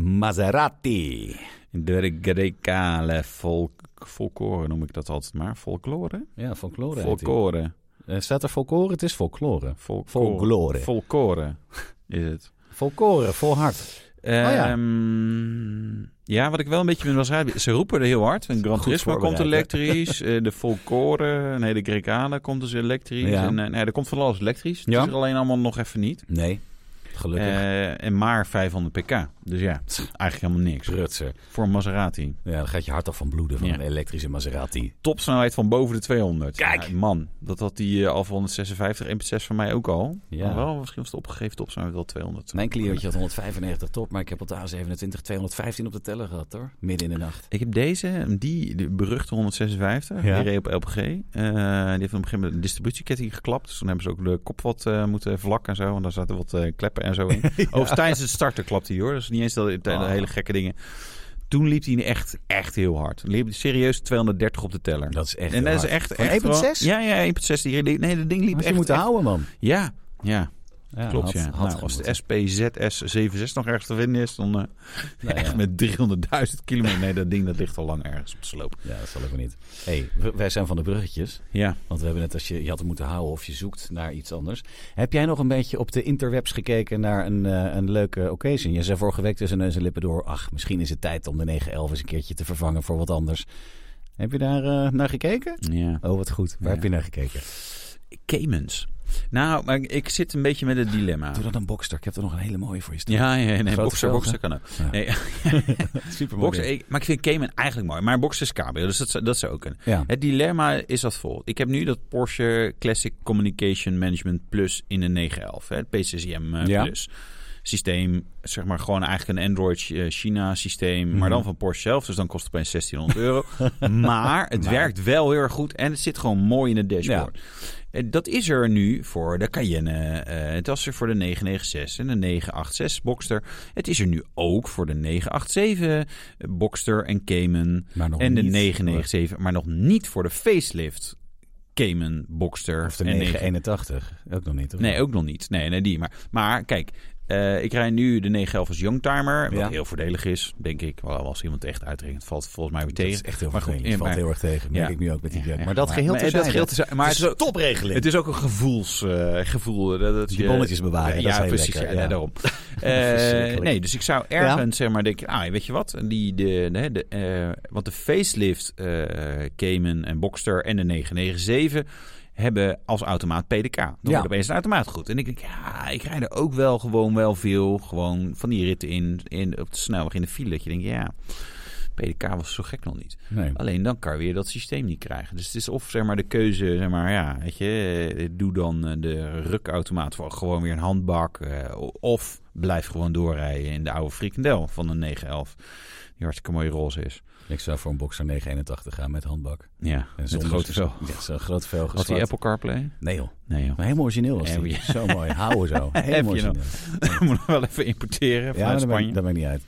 Speaker 1: Maserati.
Speaker 2: De Grecale folk, folklore noem ik dat altijd maar. Folklore?
Speaker 1: Ja, folklore. heet die.
Speaker 2: Folklore.
Speaker 1: Eh, staat er folklore? Het is folklore. Folklore.
Speaker 2: Folklore. Folklore is het.
Speaker 1: Folklore, vol hard. Oh, ja.
Speaker 2: Ehm, ja. wat ik wel een beetje met was rijden. Ze roepen er heel hard. Een Gran
Speaker 1: Goed
Speaker 2: Turismo komt
Speaker 1: voorbereid,
Speaker 2: elektrisch. eh, de Volcore, nee, de Grecale komt dus elektrisch.
Speaker 1: Ja.
Speaker 2: En, eh, nee, er komt van alles elektrisch.
Speaker 1: Ja.
Speaker 2: Het is er alleen allemaal nog even niet.
Speaker 1: Nee, gelukkig.
Speaker 2: Eh, en Eh, maar 500 pk. Dus ja, eigenlijk helemaal niks.
Speaker 1: Prutser.
Speaker 2: Voor een Maserati.
Speaker 1: Ja, dan gaat je hart af van bloeden van
Speaker 2: Ja.
Speaker 1: een elektrische Maserati.
Speaker 2: Topsnelheid van boven de 200.
Speaker 1: Kijk!
Speaker 2: Ja, man, dat had die eh, Alfa 156 MP6 van mij ook al.
Speaker 1: Ja.
Speaker 2: Maar Oh, wel, misschien was de opgegeven topsnelheid wel 200.
Speaker 1: Mijn cliëntje had 195 top, maar ik heb op de A27 215 op de teller gehad hoor. Midden in de nacht.
Speaker 2: Ik heb deze, die de beruchte 156,
Speaker 1: Ja.
Speaker 2: die reed op LPG. Eh, die heeft op een gegeven moment een distributieketting geklapt. Dus toen hebben ze ook de kop wat eh, moeten vlakken en zo. En daar zaten wat eh, kleppen en zo in. Overigens tijdens het starten klapte hij hoor. Dus niet eens dat dat- dat
Speaker 1: Ah.
Speaker 2: hele gekke dingen. Toen liep hij echt, echt heel hard. Liep hij serieus 230 op de teller.
Speaker 1: Dat is echt
Speaker 2: en
Speaker 1: heel
Speaker 2: dat is
Speaker 1: hard.
Speaker 2: echt...
Speaker 1: Van
Speaker 2: echt
Speaker 1: 1,6?
Speaker 2: gewoon- Ja, ja, 1.6. Die reed- Nee, dat ding liep
Speaker 1: Had je
Speaker 2: echt...
Speaker 1: moeten
Speaker 2: echt-
Speaker 1: houden man.
Speaker 2: Ja, ja.
Speaker 1: Ja,
Speaker 2: Klopt,
Speaker 1: had-
Speaker 2: ja.
Speaker 1: had
Speaker 2: nou, als de
Speaker 1: gemoeten.
Speaker 2: SPZS76 nog ergens te vinden is, dan eh,
Speaker 1: Nou,
Speaker 2: echt
Speaker 1: ja.
Speaker 2: met 300.000 kilometer. Nee, dat ding dat ligt al lang ergens op de sloop.
Speaker 1: Ja, dat zal ik wel niet. hey, w- wij zijn van de bruggetjes.
Speaker 2: Ja.
Speaker 1: Want we hebben net als je, je had het moeten houden of je zoekt naar iets anders. Heb jij nog een beetje op de interwebs gekeken naar een, eh, een leuke occasion? Je zei vorige week tussen neus en lippen door. Ach, misschien is het tijd om de 911 eens een keertje te vervangen voor wat anders. Heb je daar eh, naar gekeken?
Speaker 2: ja.
Speaker 1: Oh, wat goed. Waar
Speaker 2: Ja.
Speaker 1: heb je naar gekeken?
Speaker 2: Caymans. Nou, maar ik- ik zit een beetje met het dilemma.
Speaker 1: Doe dat een boxster. Ik heb er nog een hele mooie voor je staan.
Speaker 2: Ja, ja, nee,
Speaker 1: Grote
Speaker 2: boxer,
Speaker 1: velgen.
Speaker 2: boxer kan ook.
Speaker 1: Ja.
Speaker 2: Nee,
Speaker 1: super
Speaker 2: boxer, ik- maar ik vind Cayman eigenlijk mooi. Maar boxer is cabrio, dus dat, zou- dat zou ook kunnen.
Speaker 1: Ja.
Speaker 2: Het dilemma is dat volgt. Ik heb nu dat Porsche Classic Communication Management Plus in de 911. Hè, het PCCM eh,
Speaker 1: Ja.
Speaker 2: Plus. Systeem, zeg maar gewoon eigenlijk een Android eh, China systeem. Maar
Speaker 1: Mhm.
Speaker 2: dan van Porsche zelf. Dus dan kost het opeens 1600 euro. maar het
Speaker 1: Maar.
Speaker 2: werkt wel heel erg goed. En het zit gewoon mooi in het dashboard. Eh, Dat is er nu voor de Cayenne. eh, het was er voor de 996 en de 986 Boxster. Het is er nu ook voor de 987 eh, Boxster en Cayman.
Speaker 1: Maar nog
Speaker 2: En de
Speaker 1: niet-
Speaker 2: 997, maar nog niet voor de facelift Cayman Boxster.
Speaker 1: Of de
Speaker 2: en 9
Speaker 1: 981. Ook nog niet, hoor.
Speaker 2: Nee, ook nog niet. Nee, nee, die. Maar, maar kijk, eh, ik rij nu de 911 als Youngtimer. Wat
Speaker 1: Ja.
Speaker 2: heel voordelig is, denk ik. Wel, als iemand echt uitrekent, valt het volgens mij weer
Speaker 1: Dat
Speaker 2: tegen.
Speaker 1: is echt heel
Speaker 2: Maar goed,
Speaker 1: vervelend. Het
Speaker 2: ja,
Speaker 1: valt
Speaker 2: maar-
Speaker 1: heel erg tegen. Merk
Speaker 2: Ja.
Speaker 1: ik nu ook met die jeuk.
Speaker 2: Ja,
Speaker 1: Maar eh, dat
Speaker 2: maar-
Speaker 1: geheel
Speaker 2: maar eh, dat
Speaker 1: terzijde.
Speaker 2: geheel terzijde. Maar
Speaker 1: Het is
Speaker 2: het is
Speaker 1: een topregeling.
Speaker 2: Het is ook een gevoels, eh, gevoel. eh, Dat, dat
Speaker 1: Die
Speaker 2: je-
Speaker 1: bonnetjes bewaren,
Speaker 2: Ja,
Speaker 1: dat is heel
Speaker 2: precies.
Speaker 1: lekker,
Speaker 2: ja,
Speaker 1: ja.
Speaker 2: daarom. Eh,
Speaker 1: Verschrikkelijk.
Speaker 2: nee, dus ik zou ergens zeg maar denken, ah, weet je wat? Die, de, de, de, eh, want de facelift eh Cayman en Boxster en de 997 hebben als automaat PDK. Dan
Speaker 1: Ja.
Speaker 2: wordt opeens een automaat goed. En ik denk, ja, ik rijd er ook wel gewoon wel veel gewoon van die ritten in, in op de snelweg in de file. Dat je denkt, ja, PDK was zo gek nog niet.
Speaker 1: Nee.
Speaker 2: Alleen dan kan je weer dat systeem niet krijgen. Dus het is of zeg maar de keuze, zeg maar, ja, weet je, eh, doe dan eh, de rukautomaat voor gewoon weer een handbak. eh, o- Of blijf gewoon doorrijden in de oude frikandel van de 911. Die hartstikke mooi roze is.
Speaker 1: Ik zou voor een boxer 981 gaan met handbak.
Speaker 2: Ja,
Speaker 1: En
Speaker 2: met
Speaker 1: zonder-
Speaker 2: grote vel.
Speaker 1: Ja, zo'n groot vel
Speaker 2: Had die
Speaker 1: geswat.
Speaker 2: Apple CarPlay?
Speaker 1: Nee joh.
Speaker 2: Nee, joh.
Speaker 1: Maar helemaal origineel was
Speaker 2: Ja,
Speaker 1: die.
Speaker 2: maar
Speaker 1: Zo mooi. Houden zo.
Speaker 2: Heb
Speaker 1: Helemaal
Speaker 2: je
Speaker 1: origineel.
Speaker 2: Moet nog wel even importeren
Speaker 1: Ja,
Speaker 2: vanuit
Speaker 1: daar ben,
Speaker 2: Spanje.
Speaker 1: ik- daar ben ik niet uit.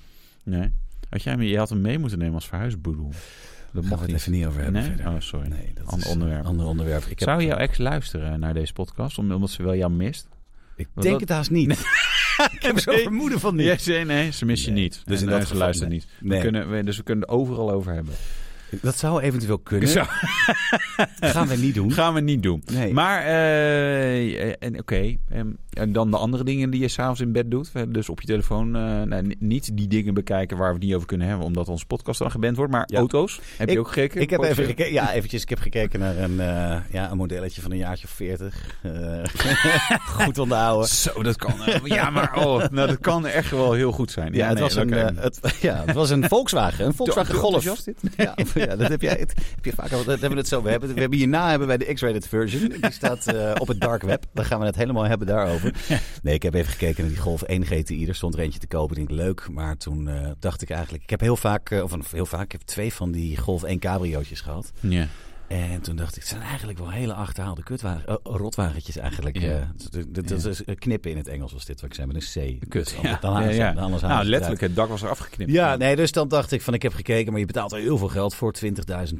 Speaker 2: Nee. Had jij, hem- je had hem mee moeten nemen als verhuisboedel.
Speaker 1: Daar
Speaker 2: Dat
Speaker 1: mogen
Speaker 2: mag
Speaker 1: we het
Speaker 2: niet.
Speaker 1: even niet over hebben
Speaker 2: Nee?
Speaker 1: verder.
Speaker 2: Oh, sorry.
Speaker 1: Nee, dat
Speaker 2: Ander
Speaker 1: is
Speaker 2: onderwerp.
Speaker 1: een ander onderwerp. Ik heb-
Speaker 2: Zou jouw ex luisteren naar deze podcast, om- omdat ze wel jou mist?
Speaker 1: Ik
Speaker 2: Wat-
Speaker 1: denk het haast niet. ik heb zo'n
Speaker 2: Nee.
Speaker 1: vermoeden van niet.
Speaker 2: Nee, nee, nee, ze mis je
Speaker 1: Nee.
Speaker 2: niet.
Speaker 1: Dus
Speaker 2: En,
Speaker 1: in dat
Speaker 2: eh, ze
Speaker 1: geval,
Speaker 2: luistert
Speaker 1: nee.
Speaker 2: niet.
Speaker 1: Nee.
Speaker 2: We kunnen, we- dus we kunnen het overal over hebben.
Speaker 1: Dat zou eventueel kunnen.
Speaker 2: Zo,
Speaker 1: gaan we niet doen.
Speaker 2: gaan we niet doen.
Speaker 1: Nee.
Speaker 2: Maar, eh, en oké. ehm, en dan de andere dingen die je s'avonds in bed doet. Eh, Dus op je telefoon. eh, nou, ni- niet die dingen bekijken waar we het niet over kunnen hebben. Omdat onze podcast dan geband wordt. Maar
Speaker 1: Ja.
Speaker 2: auto's. Heb je ook gekeken?
Speaker 1: Ik heb
Speaker 2: Porsche?
Speaker 1: even gekeken, ja, eventjes, ik heb gekeken naar een, eh, ja, een modelletje van een jaartje of 40. Eh, goed onthouden.
Speaker 2: Zo, dat kan. eh, ja, maar oh, nou, dat kan echt wel heel goed zijn.
Speaker 1: Ja, het
Speaker 2: nee,
Speaker 1: was een,
Speaker 2: oké.
Speaker 1: eh, het, ja, het was een Volkswagen, een Volkswagen
Speaker 2: Te- te
Speaker 1: Golf.
Speaker 2: enthousiast
Speaker 1: Ja, ja, dat heb jij. het- heb je vaak al. Dat hebben we het zo. We hebben, we hebben hierna hebben wij de X-rated version. Die staat eh, op het dark web. Dan gaan we het helemaal hebben daarover. Nee, ik heb even gekeken naar die Golf 1 GTI. Er stond er eentje te kopen. Ik denk leuk, maar toen eh, dacht ik eigenlijk. Ik heb heel vaak, eh, of heel vaak, ik heb twee van die Golf 1 cabriootjes gehad.
Speaker 2: Ja.
Speaker 1: En toen dacht ik, het zijn eigenlijk wel hele achterhaalde kutwagen, eh, rotwagentjes eigenlijk.
Speaker 2: Ja.
Speaker 1: eh. Dat- dat, dat is eh, knippen in het Engels was dit wat ik zei met een C.
Speaker 2: Kut.
Speaker 1: Dus
Speaker 2: Ja.
Speaker 1: anders- Dan halen ze-
Speaker 2: Ja, ja.
Speaker 1: dan halen ze
Speaker 2: Nou,
Speaker 1: het eruit.
Speaker 2: letterlijk. Het dak was er afgeknipt.
Speaker 1: Ja, nee, dus dan dacht ik van ik heb gekeken, maar je betaalt al heel veel geld voor 20.000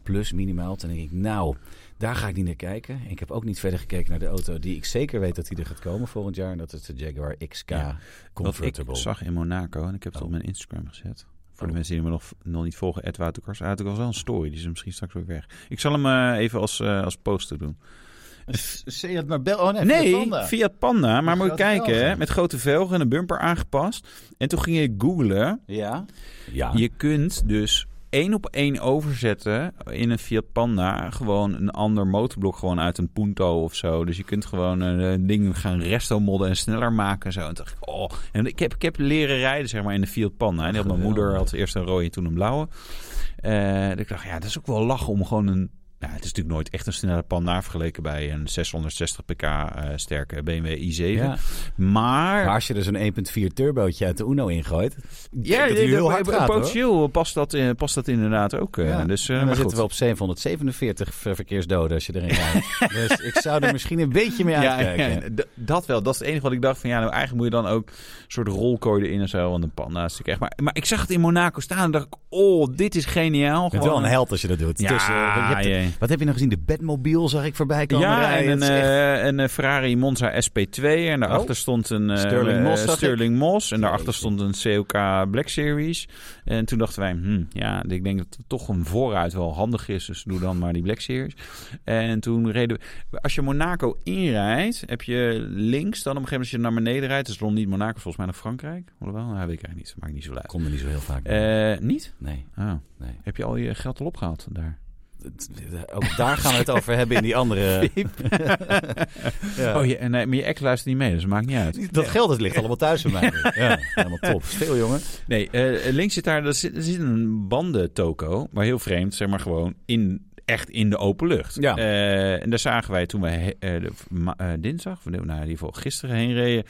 Speaker 1: plus minimaal. Toen denk ik, nou, daar ga ik niet naar kijken. En ik heb ook niet verder gekeken naar de auto die ik zeker weet dat die er gaat komen volgend jaar. En dat is de Jaguar XK
Speaker 2: Ja.
Speaker 1: Convertible.
Speaker 2: Wat ik zag in Monaco, en ik heb het
Speaker 1: Oh.
Speaker 2: op mijn Instagram gezet. Voor
Speaker 1: Oh.
Speaker 2: de mensen die me nog, nog niet volgen, Ed Waterkars. Ah, het was wel een story, die is misschien straks ook weg. Ik zal hem eh, even als, eh, als poster doen.
Speaker 1: Seat Marbella? Oh nee,
Speaker 2: nee,
Speaker 1: Fiat Panda.
Speaker 2: Fiat Panda. Maar
Speaker 1: Met
Speaker 2: moet
Speaker 1: grote
Speaker 2: je kijken,
Speaker 1: velgen.
Speaker 2: hè, met grote velgen en een bumper aangepast. En toen ging ik googlen.
Speaker 1: Ja. Ja.
Speaker 2: Je kunt dus 1,8 één op één overzetten in een Fiat Panda gewoon een ander motorblok gewoon uit een Punto of zo. Dus je kunt gewoon een, een ding gaan resto modden en sneller maken en zo. En toen dacht ik, oh. En ik heb, ik heb leren rijden zeg maar in de Fiat Panda. En die had mijn
Speaker 1: Geweldig.
Speaker 2: moeder had eerst een rode toen een blauwe. Eh, ik dacht, ja, dat is ook wel lachen om gewoon een... Nou, het is natuurlijk nooit echt een snelle Panda vergeleken bij een 660 pk eh, sterke BMW i7.
Speaker 1: Ja.
Speaker 2: Maar
Speaker 1: Maar als je dus er zo'n 1.4 turbootje uit de Uno ingooit,
Speaker 2: ja,
Speaker 1: dat die heel hard gaat, hoor.
Speaker 2: potentieel past dat, eh, past dat inderdaad ook. eh,
Speaker 1: Ja.
Speaker 2: Dus, eh,
Speaker 1: En dan
Speaker 2: maar goed.
Speaker 1: zitten we op 747 ver- verkeersdoden als je erin rijdt. dus ik zou er misschien een beetje mee
Speaker 2: ja,
Speaker 1: uitkijken.
Speaker 2: ja, d- dat wel. Dat is het enige wat ik dacht van ja, nou eigenlijk moet je dan ook een soort rolkooi erin en zo. Want een panda is natuurlijk echt. Maar, maar ik zag het in Monaco staan en dacht ik, oh, dit is geniaal.
Speaker 1: Je bent wel
Speaker 2: Gewoon-
Speaker 1: een held als je dat doet.
Speaker 2: Ja,
Speaker 1: Tussen- je hebt de-
Speaker 2: jee.
Speaker 1: wat heb je nou gezien? De Batmobile zag ik voorbij komen
Speaker 2: Ja, en
Speaker 1: rijden.
Speaker 2: een,
Speaker 1: Het is echt-
Speaker 2: eh, een eh, Ferrari Monza SP2. En daarachter
Speaker 1: Oh.
Speaker 2: stond een eh,
Speaker 1: Sterling Moss, zag
Speaker 2: eh,
Speaker 1: ik.
Speaker 2: Sterling Moss. En daarachter
Speaker 1: Jeetje.
Speaker 2: stond een CLK Black Series. En toen dachten wij, hmm, ja, ik denk dat het toch een vooruit wel handig is. Dus doe dan maar die Black Series. En toen reden we... Als je Monaco inrijdt, heb je links dan op een gegeven moment als je naar beneden rijdt. Dus dan niet Monaco, volgens mij naar Frankrijk. Hoewel, nou, weet ik eigenlijk niet. Dat maakt niet zo uit.
Speaker 1: Komt er niet zo heel vaak. bij.
Speaker 2: Eh, niet?
Speaker 1: nee.
Speaker 2: Ah,
Speaker 1: Nee.
Speaker 2: Heb je al je geld al opgehaald daar?
Speaker 1: Het-
Speaker 2: eh,
Speaker 1: Ook daar gaan we het over hebben in die andere... ja. Eh.
Speaker 2: Oh, je, nee, maar je ex luistert niet mee, dus dat maakt niet uit.
Speaker 1: Dat geld dat ligt allemaal thuis bij mij. Ja, helemaal top. Veel jongen.
Speaker 2: Nee, eh, links zit daar, er zit, er zit een bandentoko, maar heel vreemd, zeg maar gewoon in, echt in de open lucht.
Speaker 1: Ja.
Speaker 2: Eh, en daar zagen wij toen wij eh, de- ma- eh, dinsdag, of nee, nou, in ieder geval gisteren heen reden,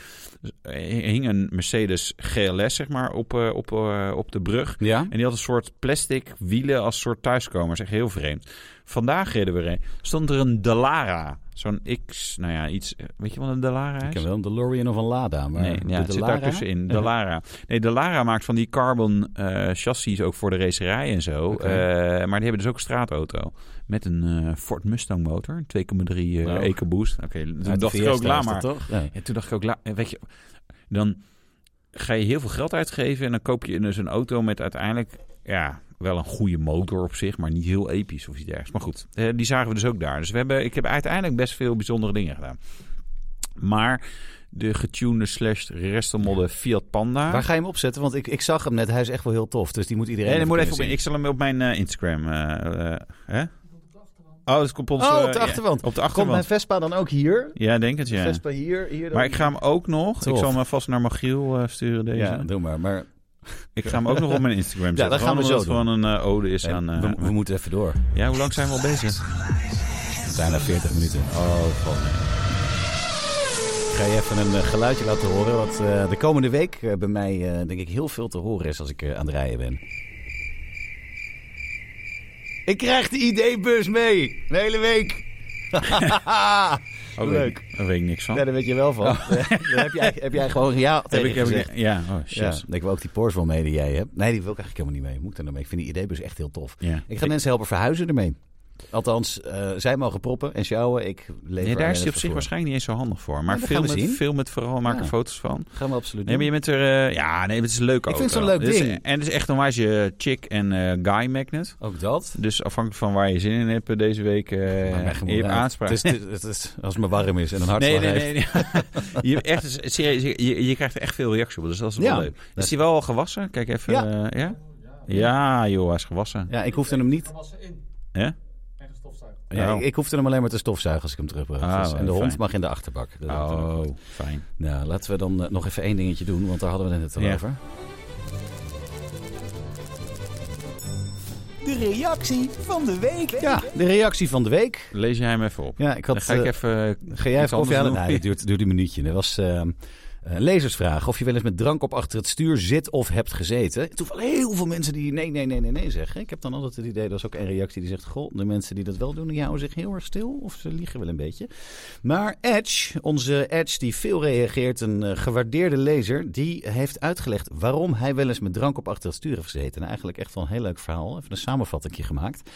Speaker 2: eh, hing een Mercedes GLS zeg maar op, eh, op, eh, op de brug.
Speaker 1: Ja?
Speaker 2: En die had een soort plastic wielen als soort thuiskomers. Echt heel vreemd. Vandaag reden we heen. Stond er een Dallara. Zo'n X, nou ja, iets. eh, Weet je wat een Dallara is?
Speaker 1: Ik heb wel een DeLorean of een Lada, maar
Speaker 2: nee,
Speaker 1: de
Speaker 2: ja, het zit daar
Speaker 1: Dallara?
Speaker 2: tussenin. De Lara. Nee, de Lara maakt van die carbon eh, chassis ook voor de racerij en zo.
Speaker 1: Oké.
Speaker 2: Eh, maar die hebben dus ook een straatauto. Met een eh, Ford Mustang motor. 2,3 eh,
Speaker 1: Nou.
Speaker 2: EcoBoost. Oké, toen
Speaker 1: Uit de
Speaker 2: dacht ik ook,
Speaker 1: Fiesta
Speaker 2: la
Speaker 1: is dat
Speaker 2: maar.
Speaker 1: Toch? Nee.
Speaker 2: Ja, toen dacht ik ook, la- eh, weet je, dan ga je heel veel geld uitgeven en dan koop je dus een auto met uiteindelijk, ja, wel een goede motor op zich, maar niet heel episch of iets dergelijks. Maar goed, eh, die zagen we dus ook daar. Dus we hebben, ik heb uiteindelijk best veel bijzondere dingen gedaan. Maar de getune slash restelmodde Fiat Panda.
Speaker 1: Waar ga je hem opzetten? Want ik, ik zag hem net. Hij is echt wel heel tof. Dus die moet iedereen
Speaker 2: Nee, nee, moet even
Speaker 1: even
Speaker 2: op,
Speaker 1: kunnen
Speaker 2: ik zal hem op mijn eh, Instagram. eh, eh, hè? Oh, dat komt op ons,
Speaker 1: zien. Oh,
Speaker 2: eh,
Speaker 1: op de
Speaker 2: ja,
Speaker 1: achterwand.
Speaker 2: op
Speaker 1: Komt
Speaker 2: de
Speaker 1: mijn
Speaker 2: achterwand.
Speaker 1: Vespa dan ook hier?
Speaker 2: Ja, denk het, ja.
Speaker 1: Vespa hier, hier. dan-
Speaker 2: Maar ik ga hem ook nog...
Speaker 1: Tof.
Speaker 2: Ik zal hem vast naar Magiel eh, sturen, deze.
Speaker 1: Ja, doe maar. Maar
Speaker 2: Ik ga hem ook nog op mijn Instagram zetten.
Speaker 1: dat gaan we
Speaker 2: Gewoon omdat
Speaker 1: zo
Speaker 2: het gewoon een eh, ode is
Speaker 1: nee,
Speaker 2: aan... eh,
Speaker 1: we, we moeten even door.
Speaker 2: ja, hoe lang zijn we al bezig? Oh,
Speaker 1: Bijna 40 minuten. Oh, god. Ik ga je even een eh, geluidje laten horen. Wat eh, de komende week eh, bij mij, eh, denk ik, heel veel te horen is als ik eh, aan het rijden ben. Ik krijg de ID-bus mee. De hele week.
Speaker 2: Oh,
Speaker 1: Leuk.
Speaker 2: weet ik- Daar weet ik niks van.
Speaker 1: Ja, daar weet je wel van. Eh, Daar heb jij, heb jij gewoon ja
Speaker 2: Oh. heb
Speaker 1: tegen
Speaker 2: ik, heb
Speaker 1: gezegd.
Speaker 2: ik, ja, oh shit.
Speaker 1: Ja,
Speaker 2: Ja.
Speaker 1: ik wil ook die Porsche wel mee die jij hebt. Nee, die wil ik eigenlijk helemaal niet mee. Hoe Moet ik daar nou mee? Ik vind die ideebus echt heel tof. Ik ga mensen helpen verhuizen ermee. Althans, eh, zij mogen proppen en sjouwen. Ik lever
Speaker 2: Nee, daar
Speaker 1: alleen het
Speaker 2: is hij op zich
Speaker 1: vervoer.
Speaker 2: waarschijnlijk niet eens zo handig voor. Maar
Speaker 1: Ja, dat
Speaker 2: veel,
Speaker 1: gaan we
Speaker 2: met,
Speaker 1: zien.
Speaker 2: veel met vooral maken
Speaker 1: Ja.
Speaker 2: foto's van.
Speaker 1: Gaan we absoluut
Speaker 2: Nee,
Speaker 1: doen.
Speaker 2: maar je bent er... eh, ja, nee, het is een leuk
Speaker 1: Ik vind
Speaker 2: auto.
Speaker 1: het zo'n leuk
Speaker 2: Dit is-
Speaker 1: ding.
Speaker 2: En het is echt een wijze chick en eh, guy magnet.
Speaker 1: Ook dat.
Speaker 2: Dus afhankelijk van waar je zin in hebt eh, deze week... eh
Speaker 1: Maakt mij geen
Speaker 2: je hebt
Speaker 1: moer uit.
Speaker 2: aanspraak.
Speaker 1: Het is, het is- het is- als het maar warm is en een hartslag
Speaker 2: Nee, nee,
Speaker 1: heeft.
Speaker 2: nee. nee. je, hebt echt, serieus, je, je- je krijgt er echt veel reactie op, dus dat is wel
Speaker 1: Ja.
Speaker 2: leuk. Is hij wel al gewassen? Kijk even.
Speaker 1: Ja.
Speaker 2: Ja. ja? Ja, joh, hij is gewassen.
Speaker 1: Ja, ik hoefde hem niet.
Speaker 2: Ja?
Speaker 1: Ja,
Speaker 2: Oh.
Speaker 1: ik, ik hoefde hem alleen maar te stofzuigen als ik hem terugbracht.
Speaker 2: Ah,
Speaker 1: Dus- en de
Speaker 2: fijn.
Speaker 1: hond mag in de achterbak. Dat doet er ook.
Speaker 2: Oh, fijn.
Speaker 1: Nou, laten we dan eh, nog even één dingetje doen, want daar hadden we het net al
Speaker 2: Ja.
Speaker 1: over. De reactie van de week. Ja, de reactie van de week.
Speaker 2: Lees jij hem even op.
Speaker 1: Ja, ik
Speaker 2: Dan
Speaker 1: had.
Speaker 2: ga ik
Speaker 1: eh,
Speaker 2: even...
Speaker 1: ga jij
Speaker 2: iets
Speaker 1: even koffie halen?
Speaker 2: anders doen.
Speaker 1: Nee, het duurt, duurt een minuutje. Er was eh, een lezersvraag of je wel eens met drank op achter het stuur zit of hebt gezeten. Toevallig heel veel mensen die nee, nee, nee, nee, nee zeggen. Ik heb dan altijd het idee, dat is ook een reactie die zegt... Goh, de mensen die dat wel doen, die houden zich heel erg stil of ze liegen wel een beetje. Maar Edge, onze Edge die veel reageert, een eh, gewaardeerde lezer... die heeft uitgelegd waarom hij wel eens met drank op achter het stuur heeft gezeten. En eigenlijk echt wel een heel leuk verhaal. Even een samenvattingje gemaakt.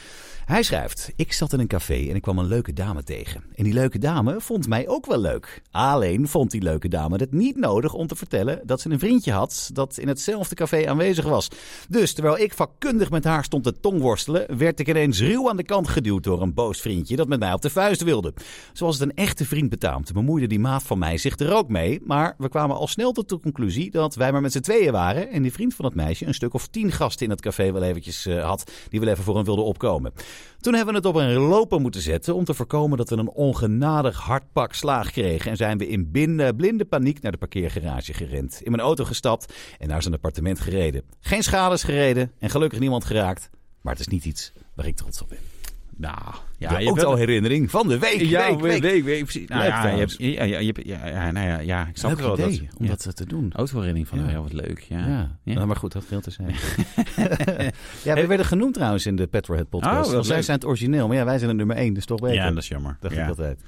Speaker 1: Hij schrijft: Ik zat in een café en ik kwam een leuke dame tegen. En die leuke dame vond mij ook wel leuk. Alleen vond die leuke dame het niet nodig om te vertellen dat ze een vriendje had dat in hetzelfde café aanwezig was. Dus terwijl ik vakkundig met haar stond te tongworstelen, werd ik ineens ruw aan de kant geduwd door een boos vriendje dat met mij op de vuist wilde. Zoals het een echte vriend betaamt, bemoeide die maat van mij zich er ook mee. Maar we kwamen al snel tot de conclusie dat wij maar met z'n tweeën waren. En die vriend van het meisje een stuk of tien gasten in het café wel eventjes eh, had. Die wel even voor hem wilden opkomen. Toen hebben we het op een loper moeten zetten om te voorkomen dat we een ongenadig hard pak slaag kregen. En zijn we in bin- eh, blinde paniek naar de parkeergarage gerend. In mijn auto gestapt en naar zijn appartement gereden. Geen schades gereden en gelukkig niemand geraakt. Maar het is niet iets waar ik trots op ben.
Speaker 2: Nou,
Speaker 1: Ja, de autoherinnering van de week.
Speaker 2: Ja,
Speaker 1: week, week.
Speaker 2: week, week, precies. Nou
Speaker 1: Leuk
Speaker 2: ja, je
Speaker 1: trouwens.
Speaker 2: hebt, ja, ja, je hebt- ja, ja, nou ja, ja, ik snap
Speaker 1: Leuk
Speaker 2: het wel
Speaker 1: idee
Speaker 2: dat...
Speaker 1: om
Speaker 2: ja.
Speaker 1: dat eh, te doen.
Speaker 2: Autoherinnering van,
Speaker 1: Ja.
Speaker 2: ja, wat leuk, ja.
Speaker 1: Ja,
Speaker 2: Ja.
Speaker 1: Nou, maar goed, dat veel te zijn. ja, we werden genoemd trouwens in de Petrohead
Speaker 2: Oh,
Speaker 1: podcast.
Speaker 2: wat
Speaker 1: Want zij
Speaker 2: leuk.
Speaker 1: zijn het origineel, maar ja, wij zijn de nummer één, dus toch beter.
Speaker 2: Ja, dat is jammer.
Speaker 1: dacht
Speaker 2: ja.
Speaker 1: ik altijd.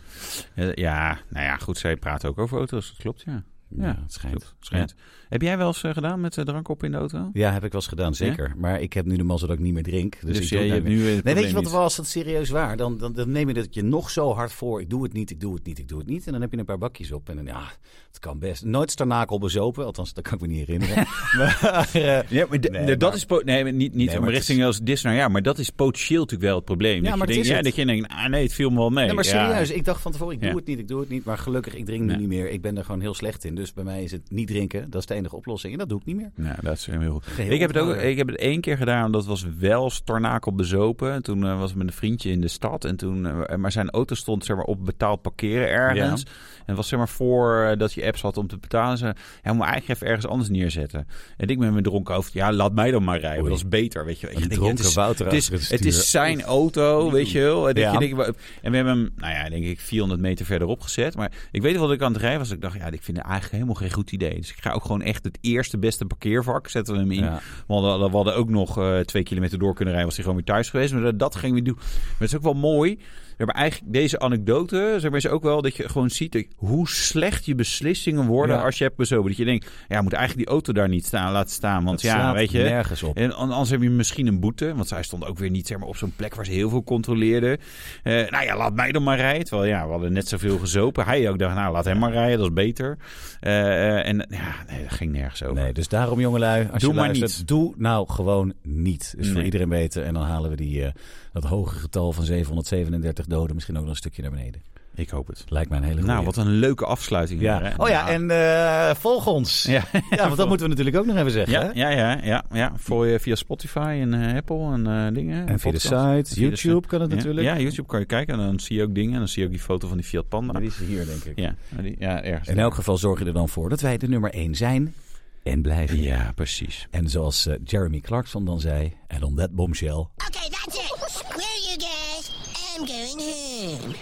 Speaker 2: Eh, Ja, nou ja, goed, zij praat ook over auto's, dat klopt, ja.
Speaker 1: Ja,
Speaker 2: Ja,
Speaker 1: het schijnt.
Speaker 2: Klopt, schijnt. Heb jij wel eens eh, gedaan met eh, drank op in de auto?
Speaker 1: Ja, heb ik wel eens gedaan, zeker. Maar ik heb nu de mazzel dat ik niet meer drink. Dus,
Speaker 2: Dus,
Speaker 1: ik doe
Speaker 2: jij
Speaker 1: het
Speaker 2: je hebt
Speaker 1: eigenlijk
Speaker 2: nu... eh,
Speaker 1: Nee, weet
Speaker 2: het
Speaker 1: je wat het
Speaker 2: probleem
Speaker 1: was? Dat is serieus waar. Dan, dan, dan neem je dat je nog zo hard voor. Ik doe het niet, ik doe het niet, ik doe het niet. En dan heb je een paar bakjes op. En dan, ja, het kan best. Nooit starnakel bezopen. Althans, dat kan ik me niet herinneren. maar, eh,
Speaker 2: niet. Ja, maar d-
Speaker 1: Nee,
Speaker 2: d- dat
Speaker 1: maar-
Speaker 2: is... po- Nee, maar niet, niet
Speaker 1: Nee,
Speaker 2: om
Speaker 1: maar het
Speaker 2: richting als dis naar ja, maar dat is potentieel natuurlijk wel het probleem.
Speaker 1: Ja,
Speaker 2: dat
Speaker 1: maar dat
Speaker 2: je denkt,
Speaker 1: is
Speaker 2: ja,
Speaker 1: het.
Speaker 2: dat je denkt, ah nee, het viel me wel mee.
Speaker 1: Nee, maar
Speaker 2: Ja.
Speaker 1: serieus. Ik dacht van tevoren, ik doe
Speaker 2: Ja.
Speaker 1: het niet, ik doe het niet. Maar gelukkig, ik drink nu
Speaker 2: Nee.
Speaker 1: niet meer. Ik ben er gewoon heel slecht in. Dus bij mij is het niet drinken. Dat is de enige oplossing. En dat doe ik niet meer.
Speaker 2: Nou, dat is heel goed.
Speaker 1: Geheel
Speaker 2: ik, heb het ook,
Speaker 1: onthouden.
Speaker 2: ik heb het één keer gedaan, dat was wel stornakel bezopen. En Toen eh, was ik met een vriendje in de stad. En toen, eh, maar zijn auto stond zeg maar, op betaald parkeren ergens. En het was zeg maar voor eh, dat je apps had om te betalen. Ze ja, moet eigenlijk even ergens anders neerzetten. En ik met mijn dronken hoofd, ja, laat mij dan maar rijden.
Speaker 1: Oei.
Speaker 2: Dat is beter, weet je. wel. Ik
Speaker 1: Een
Speaker 2: denk, ja,
Speaker 1: dronken
Speaker 2: het is-
Speaker 1: Wouter
Speaker 2: het is,
Speaker 1: achter het
Speaker 2: het is
Speaker 1: stuur.
Speaker 2: zijn auto, weet je wel. En,
Speaker 1: Ja.
Speaker 2: denk je, denk ik, en we hebben hem, nou ja, denk ik 400 meter verderop gezet. Maar ik weet wel dat ik aan het rijden was. Ik dacht, ja, ik vind het eigenlijk helemaal geen goed idee. Dus ik ga ook gewoon echt het eerste beste parkeervak zetten we hem in.
Speaker 1: Ja.
Speaker 2: We, hadden, we hadden ook nog eh, twee kilometer door kunnen rijden. Was hij gewoon weer thuis geweest. Maar dat, dat gingen we doen. Maar het is ook wel mooi. We hebben eigenlijk deze anekdote, zeg maar, is ook wel dat je gewoon ziet dat- hoe slecht je beslissingen worden
Speaker 1: Ja.
Speaker 2: als je hebt bezopen. Dat je denkt, ja, moet eigenlijk die auto daar niet staan, laten staan. Want
Speaker 1: Dat
Speaker 2: ja,
Speaker 1: slaat
Speaker 2: weet je.
Speaker 1: nergens op.
Speaker 2: En an- anders heb je misschien een boete. Want zij stond ook weer niet zeg maar, op zo'n plek waar ze heel veel controleerden. Eh, nou ja, laat mij dan maar rijden. Terwijl ja, we hadden net zoveel gezopen. Hij ook dacht, nou laat hem maar rijden, dat is beter. Eh, eh, en ja, nee, dat ging nergens over.
Speaker 1: Nee, dus daarom jongelui, als
Speaker 2: Doe
Speaker 1: je
Speaker 2: maar
Speaker 1: luistert,
Speaker 2: niet.
Speaker 1: doe nou gewoon niet. Dus voor
Speaker 2: Nee.
Speaker 1: iedereen weten. En dan halen we die, eh, dat hoge getal van 737 doden misschien ook nog een stukje naar beneden.
Speaker 2: Ik hoop het.
Speaker 1: Lijkt mij een hele goede.
Speaker 2: Nou, wat een leuke afsluiting. weer,
Speaker 1: ja.
Speaker 2: hè? Nou,
Speaker 1: Oh ja, en eh, volg ons. Ja.
Speaker 2: Ja,
Speaker 1: want dat moeten we natuurlijk ook nog even zeggen.
Speaker 2: ja,
Speaker 1: hè?
Speaker 2: ja, ja, ja, ja. Voor je via Spotify en eh, Apple en eh, dingen.
Speaker 1: En via de
Speaker 2: podcasts.
Speaker 1: site,
Speaker 2: via de
Speaker 1: YouTube kan het
Speaker 2: Ja,
Speaker 1: natuurlijk.
Speaker 2: Ja, YouTube kan je kijken en dan zie je ook dingen. En dan zie je ook die foto van die Fiat Panda.
Speaker 1: Die is hier, denk ik.
Speaker 2: Ja, die- ja ergens.
Speaker 1: In elk geval zorg je er dan voor dat wij de nummer 1 zijn en blijven.
Speaker 2: Ja, precies.
Speaker 1: En zoals eh, Jeremy Clarkson dan zei, en on that bombshell,
Speaker 3: Okay, that's it. Well, you guys, I'm going home.